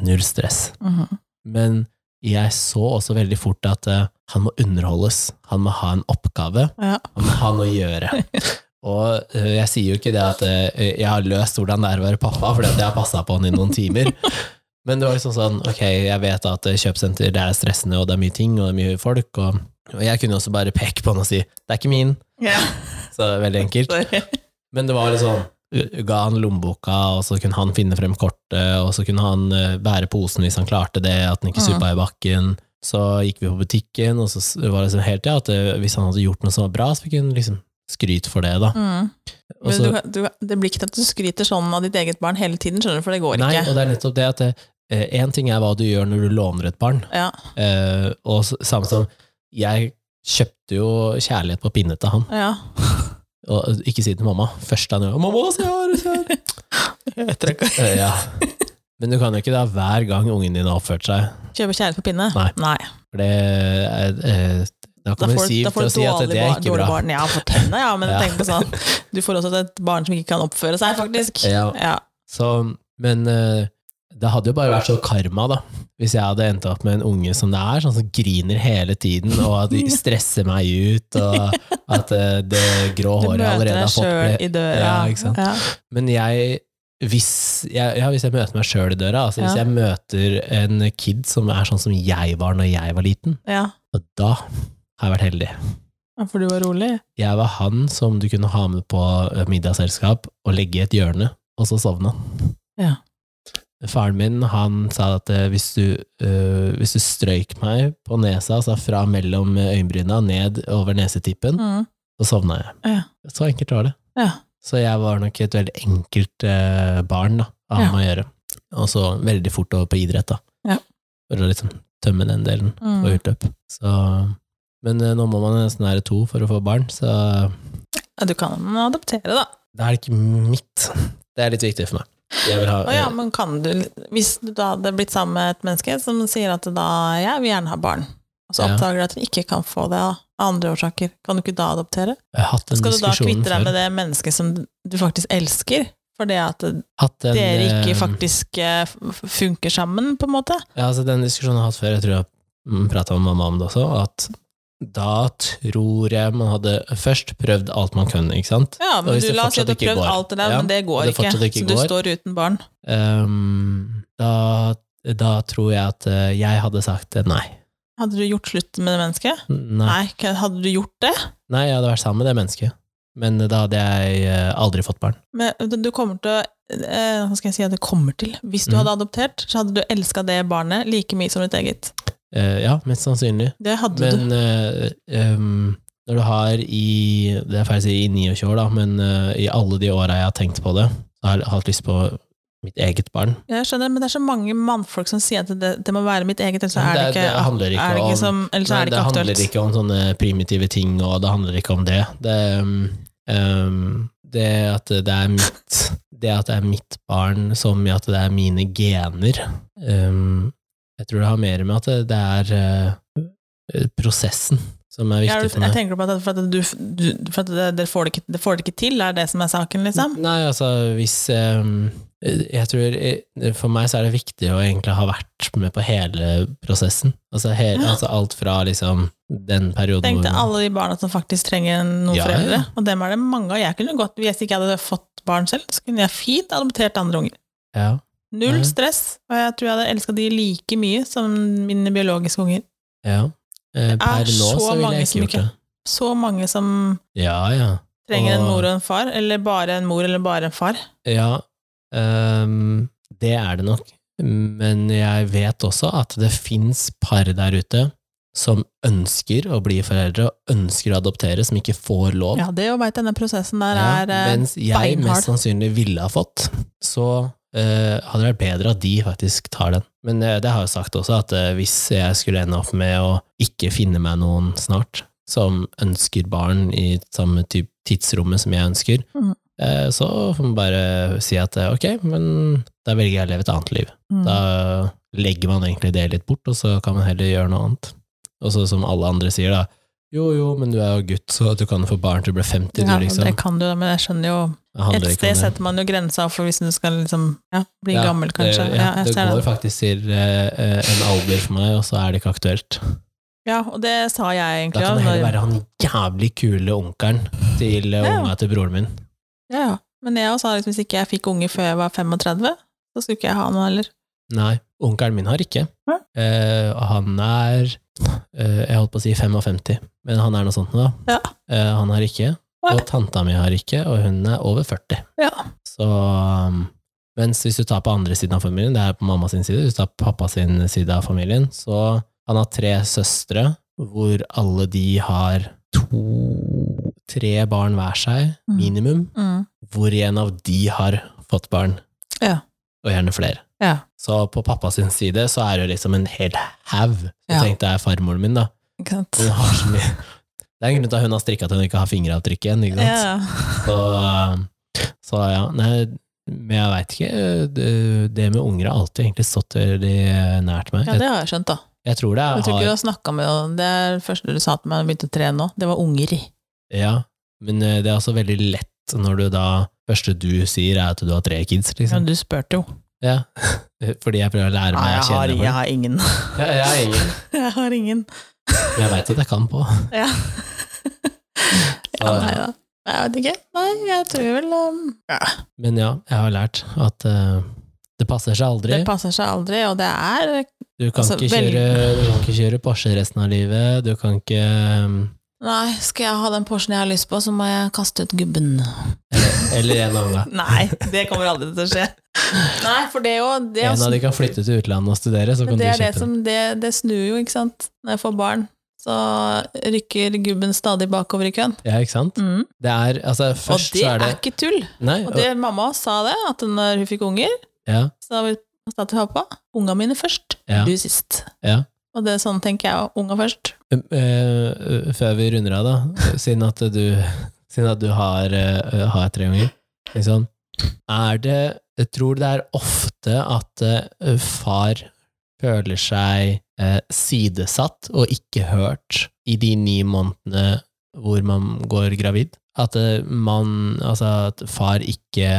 Speaker 1: Null stress.
Speaker 2: Mhm.
Speaker 1: Men jeg så også veldig fort at øh, han må underholdes. Han må ha en oppgave.
Speaker 2: Ja.
Speaker 1: Han må ha noe å gjøre. Og øh, jeg sier jo ikke det at øh, jeg har løst hvordan det er å være pappa, fordi at jeg har passa på han i noen timer. Men det var liksom sånn, ok, jeg vet at øh, kjøpesenter det er stressende, og det er mye ting, og det er mye folk, og, og jeg kunne også bare peke på han og si 'det er ikke min',
Speaker 2: ja.
Speaker 1: så det er veldig enkelt.
Speaker 2: Sorry.
Speaker 1: Men det var litt sånn Ga han lommeboka, og så kunne han finne frem kortet, og så kunne han eh, bære posen hvis han klarte det, at han ikke
Speaker 2: Mm.
Speaker 1: suppa i bakken. Så gikk vi på butikken, og så s- var det sånn hele tida at eh, hvis han hadde gjort noe som var bra, så fikk hun liksom skryt for det, da.
Speaker 2: Mm.
Speaker 1: Og
Speaker 2: Men
Speaker 1: så-
Speaker 2: du, kan- du, kan- det blir ikke til at du skryter sånn av ditt eget barn hele tiden, skjønner du, for det går
Speaker 1: nei,
Speaker 2: ikke.
Speaker 1: og det er nettopp det at det, Én ting er hva du gjør når du låner et barn,
Speaker 2: Ja.
Speaker 1: eh, og s- samme som Jeg kjøpte jo kjærlighet på pinne til han,
Speaker 2: ja.
Speaker 1: og eh, ikke si det til mamma. Først da han gjør 'Mamma, se her!' Se her.
Speaker 2: Jeg tror ikke
Speaker 1: Eh, ja. Men du kan jo ikke da hver gang ungen din har oppført seg
Speaker 2: Kjøpe kjærlighet på pinne?
Speaker 1: Nei. For det er, eh, Da
Speaker 2: Da
Speaker 1: kommer
Speaker 2: får,
Speaker 1: Siv
Speaker 2: da får
Speaker 1: til å
Speaker 2: du
Speaker 1: si at
Speaker 2: dårlig,
Speaker 1: det er
Speaker 2: barn,
Speaker 1: ikke
Speaker 2: dårlig
Speaker 1: bra.
Speaker 2: barn. Ja, for tenna, ja, men
Speaker 1: Ja.
Speaker 2: tenk på sånn Du får også et barn som ikke kan oppføre seg, faktisk.
Speaker 1: Ja. Så, men eh, det hadde jo bare vært så karma, da. Hvis jeg hadde endt opp med en unge som det er, sånn som griner hele tiden, og at de stresser meg ut, og at eh, det grå
Speaker 2: Du
Speaker 1: håret jeg
Speaker 2: møter
Speaker 1: allerede
Speaker 2: deg
Speaker 1: har fått
Speaker 2: sjøl
Speaker 1: ble-
Speaker 2: i døra.
Speaker 1: Ja, ikke sant?
Speaker 2: Ja.
Speaker 1: Men jeg hvis jeg, ja, hvis jeg møter meg sjøl i døra, altså hvis
Speaker 2: Ja.
Speaker 1: jeg møter en kid som er sånn som jeg var når jeg var liten,
Speaker 2: Ja.
Speaker 1: og da har jeg vært heldig.
Speaker 2: Ja, For du var rolig?
Speaker 1: Jeg var han som du kunne ha med på middagsselskap og legge i et hjørne, og så sovna han.
Speaker 2: Ja.
Speaker 1: Faren min han sa at eh, hvis du, eh, hvis du strøyk meg på nesa, altså fra mellom øyenbryna ned over nesetippen,
Speaker 2: Mm.
Speaker 1: så sovna jeg.
Speaker 2: Ja.
Speaker 1: Så enkelt var det.
Speaker 2: Ja.
Speaker 1: Så jeg var nok et veldig enkelt eh, barn da, av
Speaker 2: Ja.
Speaker 1: ham å gjøre. Og så veldig fort over på idrett, da.
Speaker 2: Ja.
Speaker 1: For å liksom tømme den delen
Speaker 2: Mm.
Speaker 1: og utløp. Så, men eh, nå må man nesten være to for å få barn, så
Speaker 2: Ja, Du kan adoptere, da.
Speaker 1: da er det ikke mitt. Det er litt viktig for meg. Jeg vil ha,
Speaker 2: Å ja, men kan du, hvis du da hadde blitt sammen med et menneske som sier at da, jeg vil gjerne ha barn, og så
Speaker 1: Ja.
Speaker 2: oppdager du at du ikke kan få det av andre årsaker, kan du ikke da adoptere?
Speaker 1: jeg har hatt den
Speaker 2: Skal du da
Speaker 1: diskusjonen
Speaker 2: kvitte deg
Speaker 1: før.
Speaker 2: med det mennesket som du faktisk elsker? For det at
Speaker 1: Hatt den,
Speaker 2: dere
Speaker 1: eh,
Speaker 2: ikke faktisk eh, f- funker sammen, på en måte?
Speaker 1: Ja, altså den diskusjonen har jeg hatt før, jeg tror jeg prata med mamma om det også, at da tror jeg man hadde først prøvd alt man kunne, ikke sant?
Speaker 2: Ja, men
Speaker 1: hvis
Speaker 2: du
Speaker 1: det
Speaker 2: la oss si at du
Speaker 1: fortsatt
Speaker 2: har
Speaker 1: ikke
Speaker 2: prøvd
Speaker 1: går.
Speaker 2: alt det der,
Speaker 1: Ja,
Speaker 2: men det går
Speaker 1: og det
Speaker 2: ikke,
Speaker 1: fortsatt ikke
Speaker 2: så du
Speaker 1: går.
Speaker 2: står uten barn.
Speaker 1: Ehm, da, da tror jeg at eh, jeg hadde sagt eh, nei.
Speaker 2: Hadde du gjort slutt med det mennesket?
Speaker 1: Nei,
Speaker 2: Nei, k- hadde du gjort det?
Speaker 1: nei jeg hadde vært sammen med det mennesket, men da hadde jeg eh, aldri fått barn.
Speaker 2: Men du- du kommer til å eh, Hva skal jeg si at det kommer til? Hvis du
Speaker 1: Mhm.
Speaker 2: hadde adoptert, så hadde du elska det barnet like mye som ditt eget.
Speaker 1: Eh, ja, mest sannsynlig.
Speaker 2: Det hadde du.
Speaker 1: Men eh, ehm, når du har i Det er feil å si i 29 år, da, men eh, i alle de åra jeg har tenkt på det, så har jeg hatt lyst på mitt eget barn.
Speaker 2: Jeg skjønner, men det er så mange mannfolk som sier at det, det må være mitt eget, ellers så
Speaker 1: Men
Speaker 2: er det
Speaker 1: det-
Speaker 2: ikke,
Speaker 1: det handler ikke
Speaker 2: er det ikke
Speaker 1: om-
Speaker 2: som, ellers så
Speaker 1: Nei,
Speaker 2: er det ikke
Speaker 1: handler
Speaker 2: aktuelt.
Speaker 1: ikke om sånne primitive ting, og det handler ikke om det. Det, ehm, det at det er mitt Det at det er mitt barn, som i at det er mine gener ehm, Jeg tror det har mer med at det, det er eh, prosessen som er
Speaker 2: Ja,
Speaker 1: viktig
Speaker 2: du-
Speaker 1: for
Speaker 2: jeg
Speaker 1: meg.
Speaker 2: tenker på at, for at, du, du, for at det, dere får det, ikke, det får det ikke til, er det som er saken, liksom?
Speaker 1: Nei, altså hvis ehm, Jeg tror eh, For meg så er det viktig å egentlig ha vært med på hele prosessen. Altså, hele,
Speaker 2: Ja.
Speaker 1: altså alt fra liksom den perioden
Speaker 2: Tenk
Speaker 1: hvor-
Speaker 2: til alle de barna som faktisk trenger noen
Speaker 1: Ja,
Speaker 2: foreldre,
Speaker 1: ja.
Speaker 2: og dem er det mange av. Jeg kunne godt, Hvis ikke jeg hadde fått barn selv, så kunne jeg fint adoptert andre unger.
Speaker 1: ja.
Speaker 2: Null
Speaker 1: Mhm.
Speaker 2: stress, og jeg tror jeg hadde elska de like mye som mine biologiske unger.
Speaker 1: Ja. Eh, Per nå
Speaker 2: så
Speaker 1: så ville
Speaker 2: mange
Speaker 1: jeg
Speaker 2: som
Speaker 1: ikke gjort
Speaker 2: ikke-
Speaker 1: det.
Speaker 2: Så mange som
Speaker 1: Ja, ja.
Speaker 2: trenger en
Speaker 1: Og-
Speaker 2: mor og en far, eller bare en mor eller bare en far.
Speaker 1: ja ehm, det er det nok. Men jeg vet også at det fins par der ute som ønsker å bli foreldre og ønsker å adoptere, som ikke får lov.
Speaker 2: Ja, det å veit denne prosessen der
Speaker 1: Ja,
Speaker 2: er eh,
Speaker 1: mens jeg
Speaker 2: beinhard.
Speaker 1: mest sannsynlig ville ha fått, så eh, hadde det vært bedre at de faktisk tar den. Men eh, det har jeg jo sagt også, at eh, hvis jeg skulle ende opp med å ikke finne meg noen snart, som ønsker barn i samme typ tidsrommet som jeg ønsker,
Speaker 2: Mhm.
Speaker 1: eh, så får man bare si at eh, ok, men da velger jeg å leve et annet liv.
Speaker 2: Mm.
Speaker 1: Da legger man egentlig det litt bort, og så kan man heller gjøre noe annet. Og så som alle andre sier da, jo jo, men du er jo gutt, så du kan få barn til du blir 50,
Speaker 2: ja,
Speaker 1: du liksom.
Speaker 2: det kan du, men jeg skjønner jo
Speaker 1: Det handler
Speaker 2: Et
Speaker 1: ikke om
Speaker 2: sted
Speaker 1: det.
Speaker 2: setter man jo grensa for hvis du skal liksom, ja, bli
Speaker 1: Ja,
Speaker 2: gammel, kanskje.
Speaker 1: Det,
Speaker 2: ja,
Speaker 1: ja,
Speaker 2: jeg
Speaker 1: det
Speaker 2: ser
Speaker 1: går
Speaker 2: det.
Speaker 1: faktisk til eh, eh, en alder for meg, og så er det ikke aktuelt.
Speaker 2: ja, og det sa jeg
Speaker 1: Da
Speaker 2: egentlig
Speaker 1: kan
Speaker 2: også,
Speaker 1: det heller
Speaker 2: når-
Speaker 1: være han jævlig kule onkelen til eh,
Speaker 2: Ja.
Speaker 1: unga til broren min.
Speaker 2: Ja, ja. Men jeg også sa liksom, hvis ikke jeg fikk unge før jeg var 35, så skulle ikke jeg ha noe heller.
Speaker 1: Nei, onkelen min har ikke.
Speaker 2: Hæ?
Speaker 1: Eh, og han er eh, Jeg holdt på å si 55, men han er noe sånt nå.
Speaker 2: Ja.
Speaker 1: Eh, han har ikke.
Speaker 2: Nei.
Speaker 1: Og tanta mi har ikke, og hun er over 40.
Speaker 2: Ja.
Speaker 1: Så um, Mens hvis du tar på andre siden av familien, det er på mamma sin side, hvis du tar på pappa sin side av familien, så han har tre søstre, hvor alle de har to Tre barn hver seg,
Speaker 2: Mm.
Speaker 1: minimum,
Speaker 2: Mm.
Speaker 1: hvor en av de har fått barn.
Speaker 2: Ja.
Speaker 1: Og gjerne flere.
Speaker 2: Ja.
Speaker 1: Så på pappa sin side så er det jo liksom en hel haug. Så
Speaker 2: Ja.
Speaker 1: tenkte jeg farmoren min, da.
Speaker 2: Ikke sant?
Speaker 1: Hun har så mye Det er en grunn til at hun har strikka til hun ikke har fingeravtrykk igjen, ikke sant.
Speaker 2: Ja.
Speaker 1: Så, så ja, nei, men jeg veit ikke. Det, det med unger har alltid egentlig stått veldig nært meg.
Speaker 2: ja, det har jeg skjønt, da.
Speaker 1: Jeg, jeg tror det
Speaker 2: Jeg tror ikke du
Speaker 1: har
Speaker 2: har snakka med henne. Det er det første du sa til meg da jeg begynte å trene nå. Det var unger.
Speaker 1: Ja, men eh, det er også veldig lett når du da Første du sier, er at du har tre kids, liksom.
Speaker 2: Men du spurte jo.
Speaker 1: Ja. Fordi jeg prøver å lære meg å
Speaker 2: jeg har,
Speaker 1: kjenne
Speaker 2: jeg
Speaker 1: folk.
Speaker 2: har ingen.
Speaker 1: Ja, jeg har ingen.
Speaker 2: Jeg har ingen.
Speaker 1: Men jeg veit at jeg kan på.
Speaker 2: Ja. ja,
Speaker 1: Ah, ja.
Speaker 2: nei da. Jeg vet ikke. Nei, jeg tror vel um,
Speaker 1: Men ja, jeg har lært at eh, det passer seg aldri.
Speaker 2: Det passer seg aldri, og det er
Speaker 1: Du kan,
Speaker 2: altså,
Speaker 1: ikke
Speaker 2: vel-
Speaker 1: kjøre, du kan ikke kjøre Porsche resten av livet. Du kan ikke um,
Speaker 2: Nei, skal jeg ha den Porschen jeg har lyst på, så må jeg kaste ut gubben.
Speaker 1: Eller en av dem.
Speaker 2: Nei, det kommer aldri til å skje. Nei, for det er jo det, er
Speaker 1: En
Speaker 2: jo-
Speaker 1: av de kan flytte til utlandet og studere, så
Speaker 2: men
Speaker 1: kan du
Speaker 2: det er det
Speaker 1: kjøpe den.
Speaker 2: som det, det snur jo, ikke sant. Når jeg får barn, så rykker gubben stadig bakover i køen.
Speaker 1: Ja, ikke sant?
Speaker 2: Mm.
Speaker 1: Det er, altså,
Speaker 2: Og
Speaker 1: først
Speaker 2: det
Speaker 1: så
Speaker 2: er
Speaker 1: er det
Speaker 2: ikke tull!
Speaker 1: Nei,
Speaker 2: Og det mamma sa det, at når hun fikk unger,
Speaker 1: ja,
Speaker 2: så sa jeg til pappa unga mine først,
Speaker 1: Ja.
Speaker 2: du sist.
Speaker 1: ja.
Speaker 2: Og det er sånn tenker jeg òg. Unga først.
Speaker 1: Um, eh, før vi runder av, da, siden at du, siden at du har, eh, har tre unger, liksom, er det Jeg tror det er ofte at eh, far føler seg eh, sidesatt og ikke hørt i de ni månedene hvor man går gravid. At eh, man Altså, at far ikke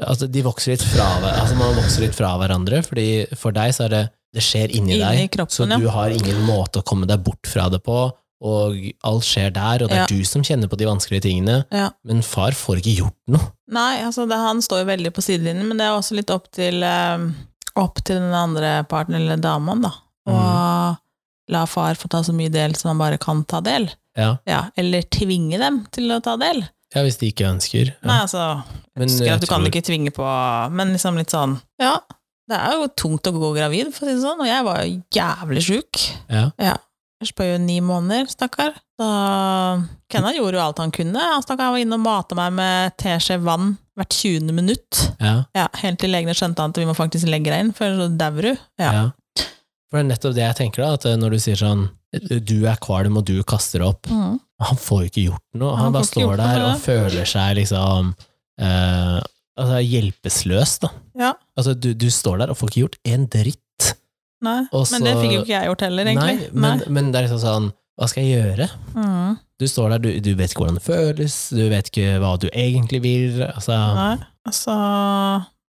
Speaker 1: Altså, de vokser litt fra, hver- altså man vokser litt fra hverandre, fordi for deg så er det det skjer inni,
Speaker 2: Inni
Speaker 1: deg,
Speaker 2: kroppen,
Speaker 1: så
Speaker 2: ja.
Speaker 1: du har ingen måte å komme deg bort fra det på, og alt skjer der, og det er
Speaker 2: Ja.
Speaker 1: du som kjenner på de vanskelige tingene,
Speaker 2: Ja.
Speaker 1: men far får ikke gjort noe.
Speaker 2: Nei, altså det, han står jo veldig på sidelinjen, men det er også litt opp til, eh, opp til den andre parten, eller damaen, da. Og
Speaker 1: Mhm.
Speaker 2: la far få ta så mye del som han bare kan ta del.
Speaker 1: Ja,
Speaker 2: Ja, eller tvinge dem til å ta del.
Speaker 1: ja hvis de ikke ønsker. Ja.
Speaker 2: Nei, altså,
Speaker 1: Men
Speaker 2: husker
Speaker 1: jeg
Speaker 2: at du kan
Speaker 1: tror-
Speaker 2: ikke tvinge på Men liksom litt sånn Ja, det er jo tungt å gå gravid, for å si det sånn, og jeg var jo jævlig sjuk.
Speaker 1: Ja.
Speaker 2: Først på jo ni måneder, stakkar. Da Kenna gjorde jo alt han kunne. Han stakkar han var inne og mata meg med teskje vann hvert 20. minutt.
Speaker 1: Ja,
Speaker 2: Ja, Helt til legene skjønte at vi må faktisk legge deg inn, for så dauer du.
Speaker 1: ja.
Speaker 2: Ja.
Speaker 1: For det er nettopp det jeg tenker da, at eh, når du sier sånn, du er kvalm og du kaster opp,
Speaker 2: Mm.
Speaker 1: han får jo ikke gjort noe, han,
Speaker 2: Han
Speaker 1: bare
Speaker 2: får ikke
Speaker 1: står
Speaker 2: gjort noe
Speaker 1: der
Speaker 2: med
Speaker 1: og føler seg liksom eh, altså hjelpeløs da.
Speaker 2: Ja.
Speaker 1: Altså du, du står der og får ikke gjort en dritt.
Speaker 2: Nei.
Speaker 1: Og så-
Speaker 2: Men det fikk jo ikke jeg gjort heller, egentlig.
Speaker 1: Nei, men, men det er liksom sånn, hva skal jeg gjøre?
Speaker 2: Nei. Mm.
Speaker 1: Du står der, du, du vet ikke hvordan det føles, du vet ikke hva du egentlig vil, altså,
Speaker 2: Nei. Altså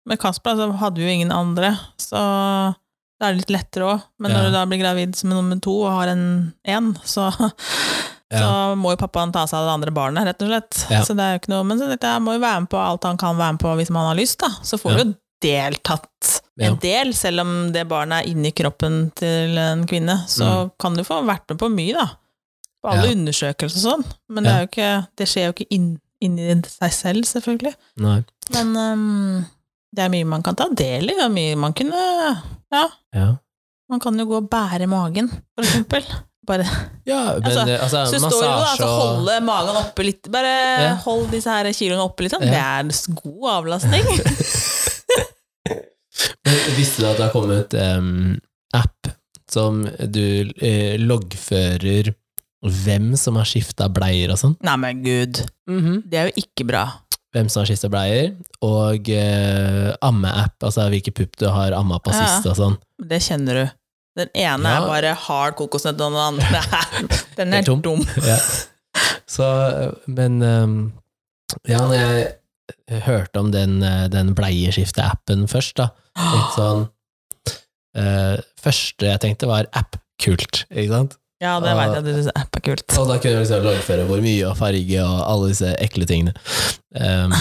Speaker 2: Med Kasper altså, hadde vi jo ingen andre, så da er det litt lettere òg. Men
Speaker 1: Ja.
Speaker 2: når du da blir gravid som nummer to og har en én, så Så
Speaker 1: Ja.
Speaker 2: må jo pappaen ta seg av det andre barnet, rett og slett.
Speaker 1: Ja.
Speaker 2: Så det er jo ikke noe, men så dette her må jo være med på alt han kan være med på hvis man har lyst, da. Så får
Speaker 1: Ja.
Speaker 2: du jo deltatt
Speaker 1: Ja.
Speaker 2: en del, selv om det barnet er inni kroppen til en kvinne. Så kan du få vært med på mye, da. På
Speaker 1: Mm.
Speaker 2: alle
Speaker 1: Ja.
Speaker 2: undersøkelser og sånn. Men det, er jo ikke, det skjer jo ikke inn, inni seg selv, selvfølgelig.
Speaker 1: nei.
Speaker 2: Men øhm, det er mye man kan ta del i, og mye man kunne Ja,
Speaker 1: Ja.
Speaker 2: man kan jo gå og bære magen, for eksempel. Bare
Speaker 1: Ja, men
Speaker 2: Altså,
Speaker 1: eh, altså,
Speaker 2: så står jo da,
Speaker 1: massasje
Speaker 2: altså
Speaker 1: og
Speaker 2: holde magen oppe litt, bare
Speaker 1: Ja.
Speaker 2: hold disse her kiloene oppe litt, sånn.
Speaker 1: Ja.
Speaker 2: det er s- god avlastning.
Speaker 1: Men Visste du at det har kommet em, app som du eh, loggfører hvem som har skifta bleier og sånn?
Speaker 2: Nei, men gud,
Speaker 1: Mhm.
Speaker 2: det er jo ikke bra.
Speaker 1: Hvem som har skifta bleier, og eh, amme-app, altså hvilken pupp du har amma på
Speaker 2: Ja.
Speaker 1: sist og sånn.
Speaker 2: Det kjenner du. Den ene
Speaker 1: Ja.
Speaker 2: er bare hard kokosnøtt, og den andre er, den er
Speaker 1: Det er tom.
Speaker 2: tom.
Speaker 1: ja. Så, men ehm, Ja, når jeg hørte om den, eh, den bleieskifte-appen først, da Litt sånn eh, Første jeg tenkte, var app-kult, ikke sant?
Speaker 2: Ja, det
Speaker 1: Ah.
Speaker 2: veit jeg at du syns app er kult.
Speaker 1: Og da kunne jeg liksom loggføre hvor mye og farge og alle disse ekle tingene. Ehm,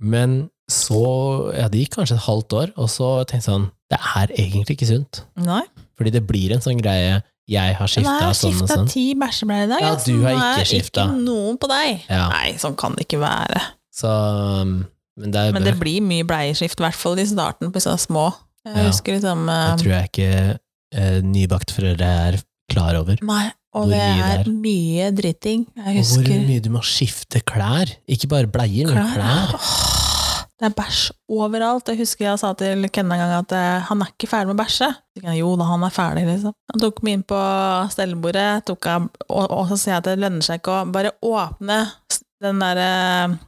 Speaker 1: men så Ja, det gikk kanskje et halvt år, og så tenkte jeg sånn Det er egentlig ikke sunt.
Speaker 2: Nei.
Speaker 1: Fordi det blir en sånn greie Jeg har
Speaker 2: Men jeg
Speaker 1: skifta
Speaker 2: har
Speaker 1: sånn og
Speaker 2: skifta
Speaker 1: sånn.
Speaker 2: ti bæsjebleier i dag,
Speaker 1: Ja,
Speaker 2: altså,
Speaker 1: du har
Speaker 2: nå er
Speaker 1: ikke skifta.
Speaker 2: Ikke noen på deg.
Speaker 1: Ja.
Speaker 2: Nei, sånn kan det ikke være.
Speaker 1: Så um, Men det er
Speaker 2: Men det blir mye bleieskift, i hvert fall i starten på disse små. Jeg
Speaker 1: Ja.
Speaker 2: husker liksom
Speaker 1: Det
Speaker 2: eh,
Speaker 1: tror jeg ikke eh, nybakt foreldre er klar over.
Speaker 2: Nei, og
Speaker 1: Hvor
Speaker 2: det
Speaker 1: mye det
Speaker 2: er
Speaker 1: er.
Speaker 2: mye dritting. Jeg
Speaker 1: Og hvor
Speaker 2: husker
Speaker 1: mye du må skifte klær. Ikke bare bleier, men
Speaker 2: klær.
Speaker 1: klær.
Speaker 2: Åh, Det er bæsj overalt. Jeg husker jeg sa til Ken en gang at eh, han er ikke ferdig med å bæsje. Så gikk han, Jo da, han er ferdig, liksom. Han tok meg inn på stellebordet, tok han, og, og så sier jeg at det lønner seg ikke å bare åpne s- den derre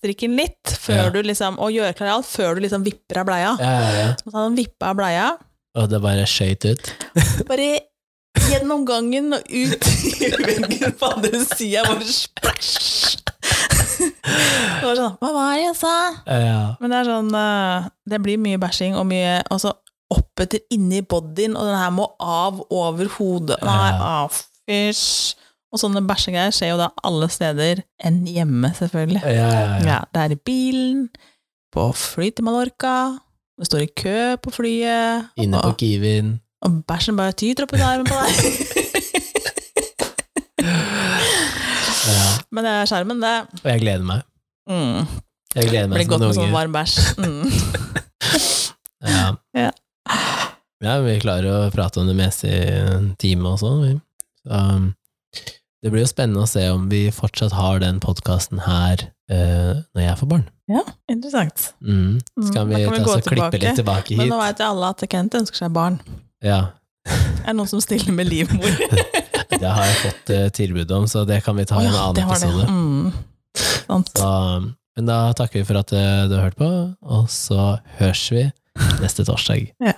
Speaker 2: strikken litt, før
Speaker 1: Ja.
Speaker 2: du liksom, og gjøre klar alt, før du liksom vipper av bleia.
Speaker 1: Ja, ja, ja.
Speaker 2: Så han vippa av bleia,
Speaker 1: Og det bare skøyt ut.
Speaker 2: bare gjennom gangen og ut i veggen på andre sida, bare splæsj! Det var sånn Hva var det jeg sa?
Speaker 1: Ja.
Speaker 2: Men det er sånn eh, Det blir mye bæsjing og mye altså, oppetter inni bodyen, og den her må av over hodet. Nei,
Speaker 1: Ja.
Speaker 2: av, fysj. Og sånne bæsjegreier skjer jo da alle steder enn hjemme, selvfølgelig.
Speaker 1: Ja, ja, ja.
Speaker 2: Ja, det er i bilen, på fly til Mallorca, du står i kø på flyet,
Speaker 1: Inne på
Speaker 2: og,
Speaker 1: Kiwien.
Speaker 2: og bæsjen bare tyter oppi armen på deg.
Speaker 1: Ja.
Speaker 2: Men det er skjermen, det.
Speaker 1: Og jeg gleder meg.
Speaker 2: Mm.
Speaker 1: Jeg gleder meg
Speaker 2: Blir
Speaker 1: som en
Speaker 2: godt med sånn
Speaker 1: unge.
Speaker 2: varm bæsj. Mm.
Speaker 1: Ja.
Speaker 2: Ja.
Speaker 1: ja, vi klarer å prate om det meste i en time og sånn. vi. Så, um, det blir jo spennende å se om vi fortsatt har den podkasten her eh, når jeg får barn.
Speaker 2: Ja, interessant.
Speaker 1: Mm. Så
Speaker 2: Mm,
Speaker 1: kan
Speaker 2: da
Speaker 1: vi,
Speaker 2: kan vi
Speaker 1: ta
Speaker 2: gå
Speaker 1: oss og klippe
Speaker 2: tilbake.
Speaker 1: litt tilbake
Speaker 2: Men
Speaker 1: hit.
Speaker 2: nå vet jo alle at Kent ønsker seg barn.
Speaker 1: Ja,
Speaker 2: Er det noen som stiller med livmor?
Speaker 1: det har jeg fått eh, tilbud om, så det kan vi ta
Speaker 2: Å
Speaker 1: i en
Speaker 2: ja,
Speaker 1: annen
Speaker 2: var det.
Speaker 1: episode.
Speaker 2: Mm. Sant.
Speaker 1: Så, um, men da takker vi for at eh, du har hørt på, og så høres vi neste torsdag.
Speaker 2: Ja.